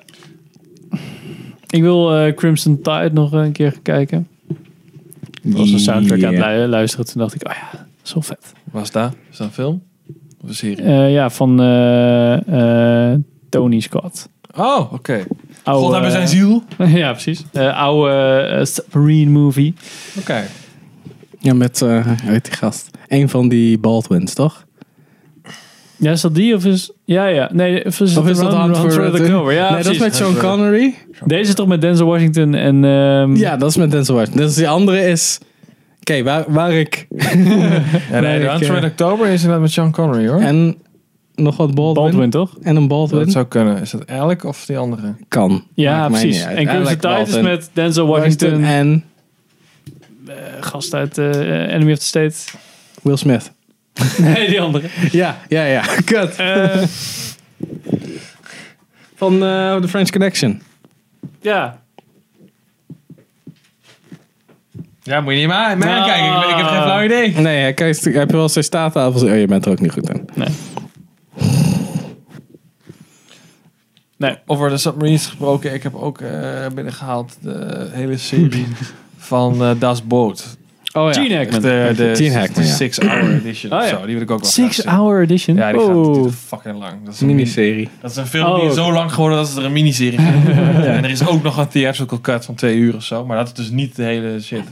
[SPEAKER 4] Ik wil eh, Crimson Tide nog een keer kijken. Ik was een soundtrack aan het lu- luisteren. Toen dacht ik, oh ja, zo vet.
[SPEAKER 2] Was dat? Is dat een film? Of een serie?
[SPEAKER 4] Eh, ja, van eh, eh, Tony Scott.
[SPEAKER 2] Oh, oké.
[SPEAKER 4] Oude- eh,
[SPEAKER 2] God hebben zijn ziel.
[SPEAKER 4] (laughs) ja, precies. Eh, oude eh, submarine movie.
[SPEAKER 2] Oké.
[SPEAKER 1] Ja, met, eh hoe heet die gast? Eén van die Baldwins, toch?
[SPEAKER 4] Ja, is dat die of is... Ja, ja. Nee, of is,
[SPEAKER 1] Of
[SPEAKER 4] het
[SPEAKER 1] is dat
[SPEAKER 4] Round-
[SPEAKER 1] Hunt
[SPEAKER 4] Round
[SPEAKER 1] for
[SPEAKER 4] Red
[SPEAKER 1] Red?
[SPEAKER 4] October? Ja,
[SPEAKER 1] Nee, dat is
[SPEAKER 4] precies.
[SPEAKER 1] met Sean Connery.
[SPEAKER 4] Deze is toch met Denzel Washington en... ehm,
[SPEAKER 1] Ja, dat is met Denzel Washington. Dus die andere is... Oké, waar, waar ik...
[SPEAKER 2] Ja, nee, de
[SPEAKER 1] Waar ik,
[SPEAKER 2] Hunter in
[SPEAKER 1] eh,
[SPEAKER 2] Oktober is inderdaad met Sean Connery, hoor.
[SPEAKER 1] En nog wat Baldwin.
[SPEAKER 4] Baldwin, toch?
[SPEAKER 1] En een Baldwin.
[SPEAKER 2] Dat zou kunnen. Is dat Alec of die andere?
[SPEAKER 1] Kan.
[SPEAKER 4] Ja,
[SPEAKER 1] Maakt mij
[SPEAKER 4] precies.
[SPEAKER 1] niet uit.
[SPEAKER 4] En Crimson
[SPEAKER 1] Alec
[SPEAKER 4] Tide is
[SPEAKER 1] Baldwin.
[SPEAKER 4] met Denzel Washington.
[SPEAKER 1] En
[SPEAKER 4] eh, gast uit eh, Enemy of the State. (laughs)
[SPEAKER 1] Will Smith.
[SPEAKER 4] Nee, die andere.
[SPEAKER 1] Ja, ja, ja. (laughs) Kut.
[SPEAKER 4] Eh.
[SPEAKER 1] Van eh, The French Connection.
[SPEAKER 4] Ja.
[SPEAKER 2] Ja, moet je niet maar mij
[SPEAKER 4] Nou.
[SPEAKER 2] kijken. Ik, weet- ik heb geen flauw idee.
[SPEAKER 1] Nee, hè, kijk, heb je wel eens staattafels? Oh, je bent er ook niet goed in.
[SPEAKER 4] Nee.
[SPEAKER 2] Over de submarines gesproken. Ik heb ook eh, binnengehaald de hele serie van eh Das Boot.
[SPEAKER 1] Oh
[SPEAKER 4] Gene Hackman.
[SPEAKER 2] De, de,
[SPEAKER 1] Gene Hackman,
[SPEAKER 2] de
[SPEAKER 1] ja.
[SPEAKER 2] Six Hour Edition
[SPEAKER 4] Oh,
[SPEAKER 2] of
[SPEAKER 4] ja.
[SPEAKER 2] zo. Die wil ik ook wel graag
[SPEAKER 4] Six
[SPEAKER 2] zien.
[SPEAKER 4] Hour Edition.
[SPEAKER 2] Ja, die gaat die
[SPEAKER 4] oh.
[SPEAKER 2] duurt fucking lang. Dat is een mini-
[SPEAKER 1] Miniserie.
[SPEAKER 2] Dat is een film
[SPEAKER 4] Oh.
[SPEAKER 2] die is zo lang geworden dat ze er een miniserie van hebben
[SPEAKER 4] (laughs)
[SPEAKER 2] gemaakt. En er is ook nog een theatrical cut van twee uur of zo. Maar dat is dus niet de hele shit.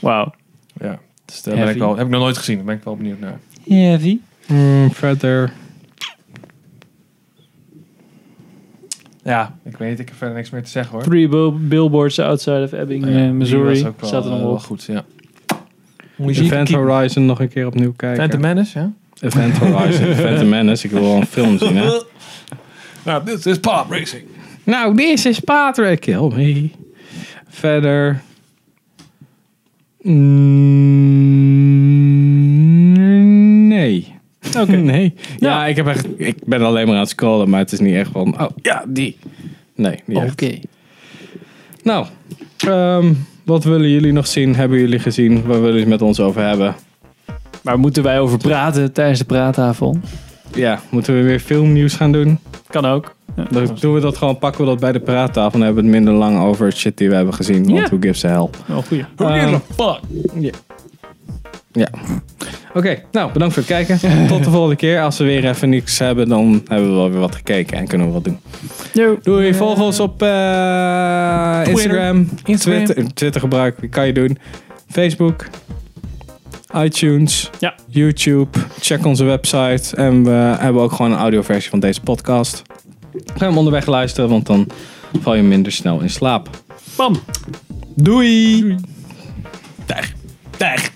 [SPEAKER 4] Wauw.
[SPEAKER 2] Ja. Dus daar ben ik
[SPEAKER 4] Heavy.
[SPEAKER 2] wel, heb ik nog nooit gezien. Daar ben ik wel benieuwd naar.
[SPEAKER 4] Heavy.
[SPEAKER 1] Mm, verder.
[SPEAKER 2] Ja, ik weet niet. Ik heb verder niks meer te zeggen hoor.
[SPEAKER 4] Three Bill- Billboards Outside of Ebbing,
[SPEAKER 2] Ja,
[SPEAKER 4] eh,
[SPEAKER 2] die was
[SPEAKER 4] Missouri.
[SPEAKER 2] ook wel,
[SPEAKER 4] Staat er
[SPEAKER 2] eh,
[SPEAKER 4] nog
[SPEAKER 2] wel
[SPEAKER 4] op.
[SPEAKER 2] goed, ja.
[SPEAKER 1] Event
[SPEAKER 2] Horizon.
[SPEAKER 1] Horizon nog een keer opnieuw kijken.
[SPEAKER 2] Phantom Menace, ja?
[SPEAKER 1] Event Horizon. (laughs) Phantom Menace. Ik wil wel een film zien, hè.
[SPEAKER 2] Nou, dit is pop racing.
[SPEAKER 1] Nou, dit is Patrick. Kill me. Verder. Mm, nee. Oké. (laughs) Nee. Ja, ik, heb echt, ik ben alleen maar aan het scrollen, maar het is niet echt van... Oh, ja, die. Nee, niet echt. Nou, ehm, wat willen jullie nog zien? Hebben jullie gezien? Waar willen jullie het met ons over hebben?
[SPEAKER 4] Maar moeten wij over praten tijdens de praattafel?
[SPEAKER 1] Ja, moeten we weer filmnieuws gaan doen?
[SPEAKER 4] Kan ook. Ja.
[SPEAKER 1] Dan doen Eh, we dat gewoon, pakken we dat bij de praattafel en hebben we het minder lang over shit die we hebben gezien. Want
[SPEAKER 4] Ja.
[SPEAKER 1] who gives a hell?
[SPEAKER 4] Wel goeie.
[SPEAKER 1] Ehm,
[SPEAKER 4] fuck?
[SPEAKER 1] Ja. Oké, nou bedankt voor het kijken. Tot de volgende keer. Als we weer even niks hebben, dan hebben we wel weer wat gekeken en kunnen we wat doen. Doei, volg ons op eh, Instagram.
[SPEAKER 2] Instagram.
[SPEAKER 1] Twitter, Twitter gebruik kan je doen. Facebook, iTunes,
[SPEAKER 4] Ja.
[SPEAKER 1] YouTube. Check onze website. En we hebben ook gewoon een audioversie van deze podcast. Ga hem onderweg luisteren, want dan val je minder snel in slaap.
[SPEAKER 4] Bam.
[SPEAKER 1] Doei.
[SPEAKER 2] Tijg. Tijg.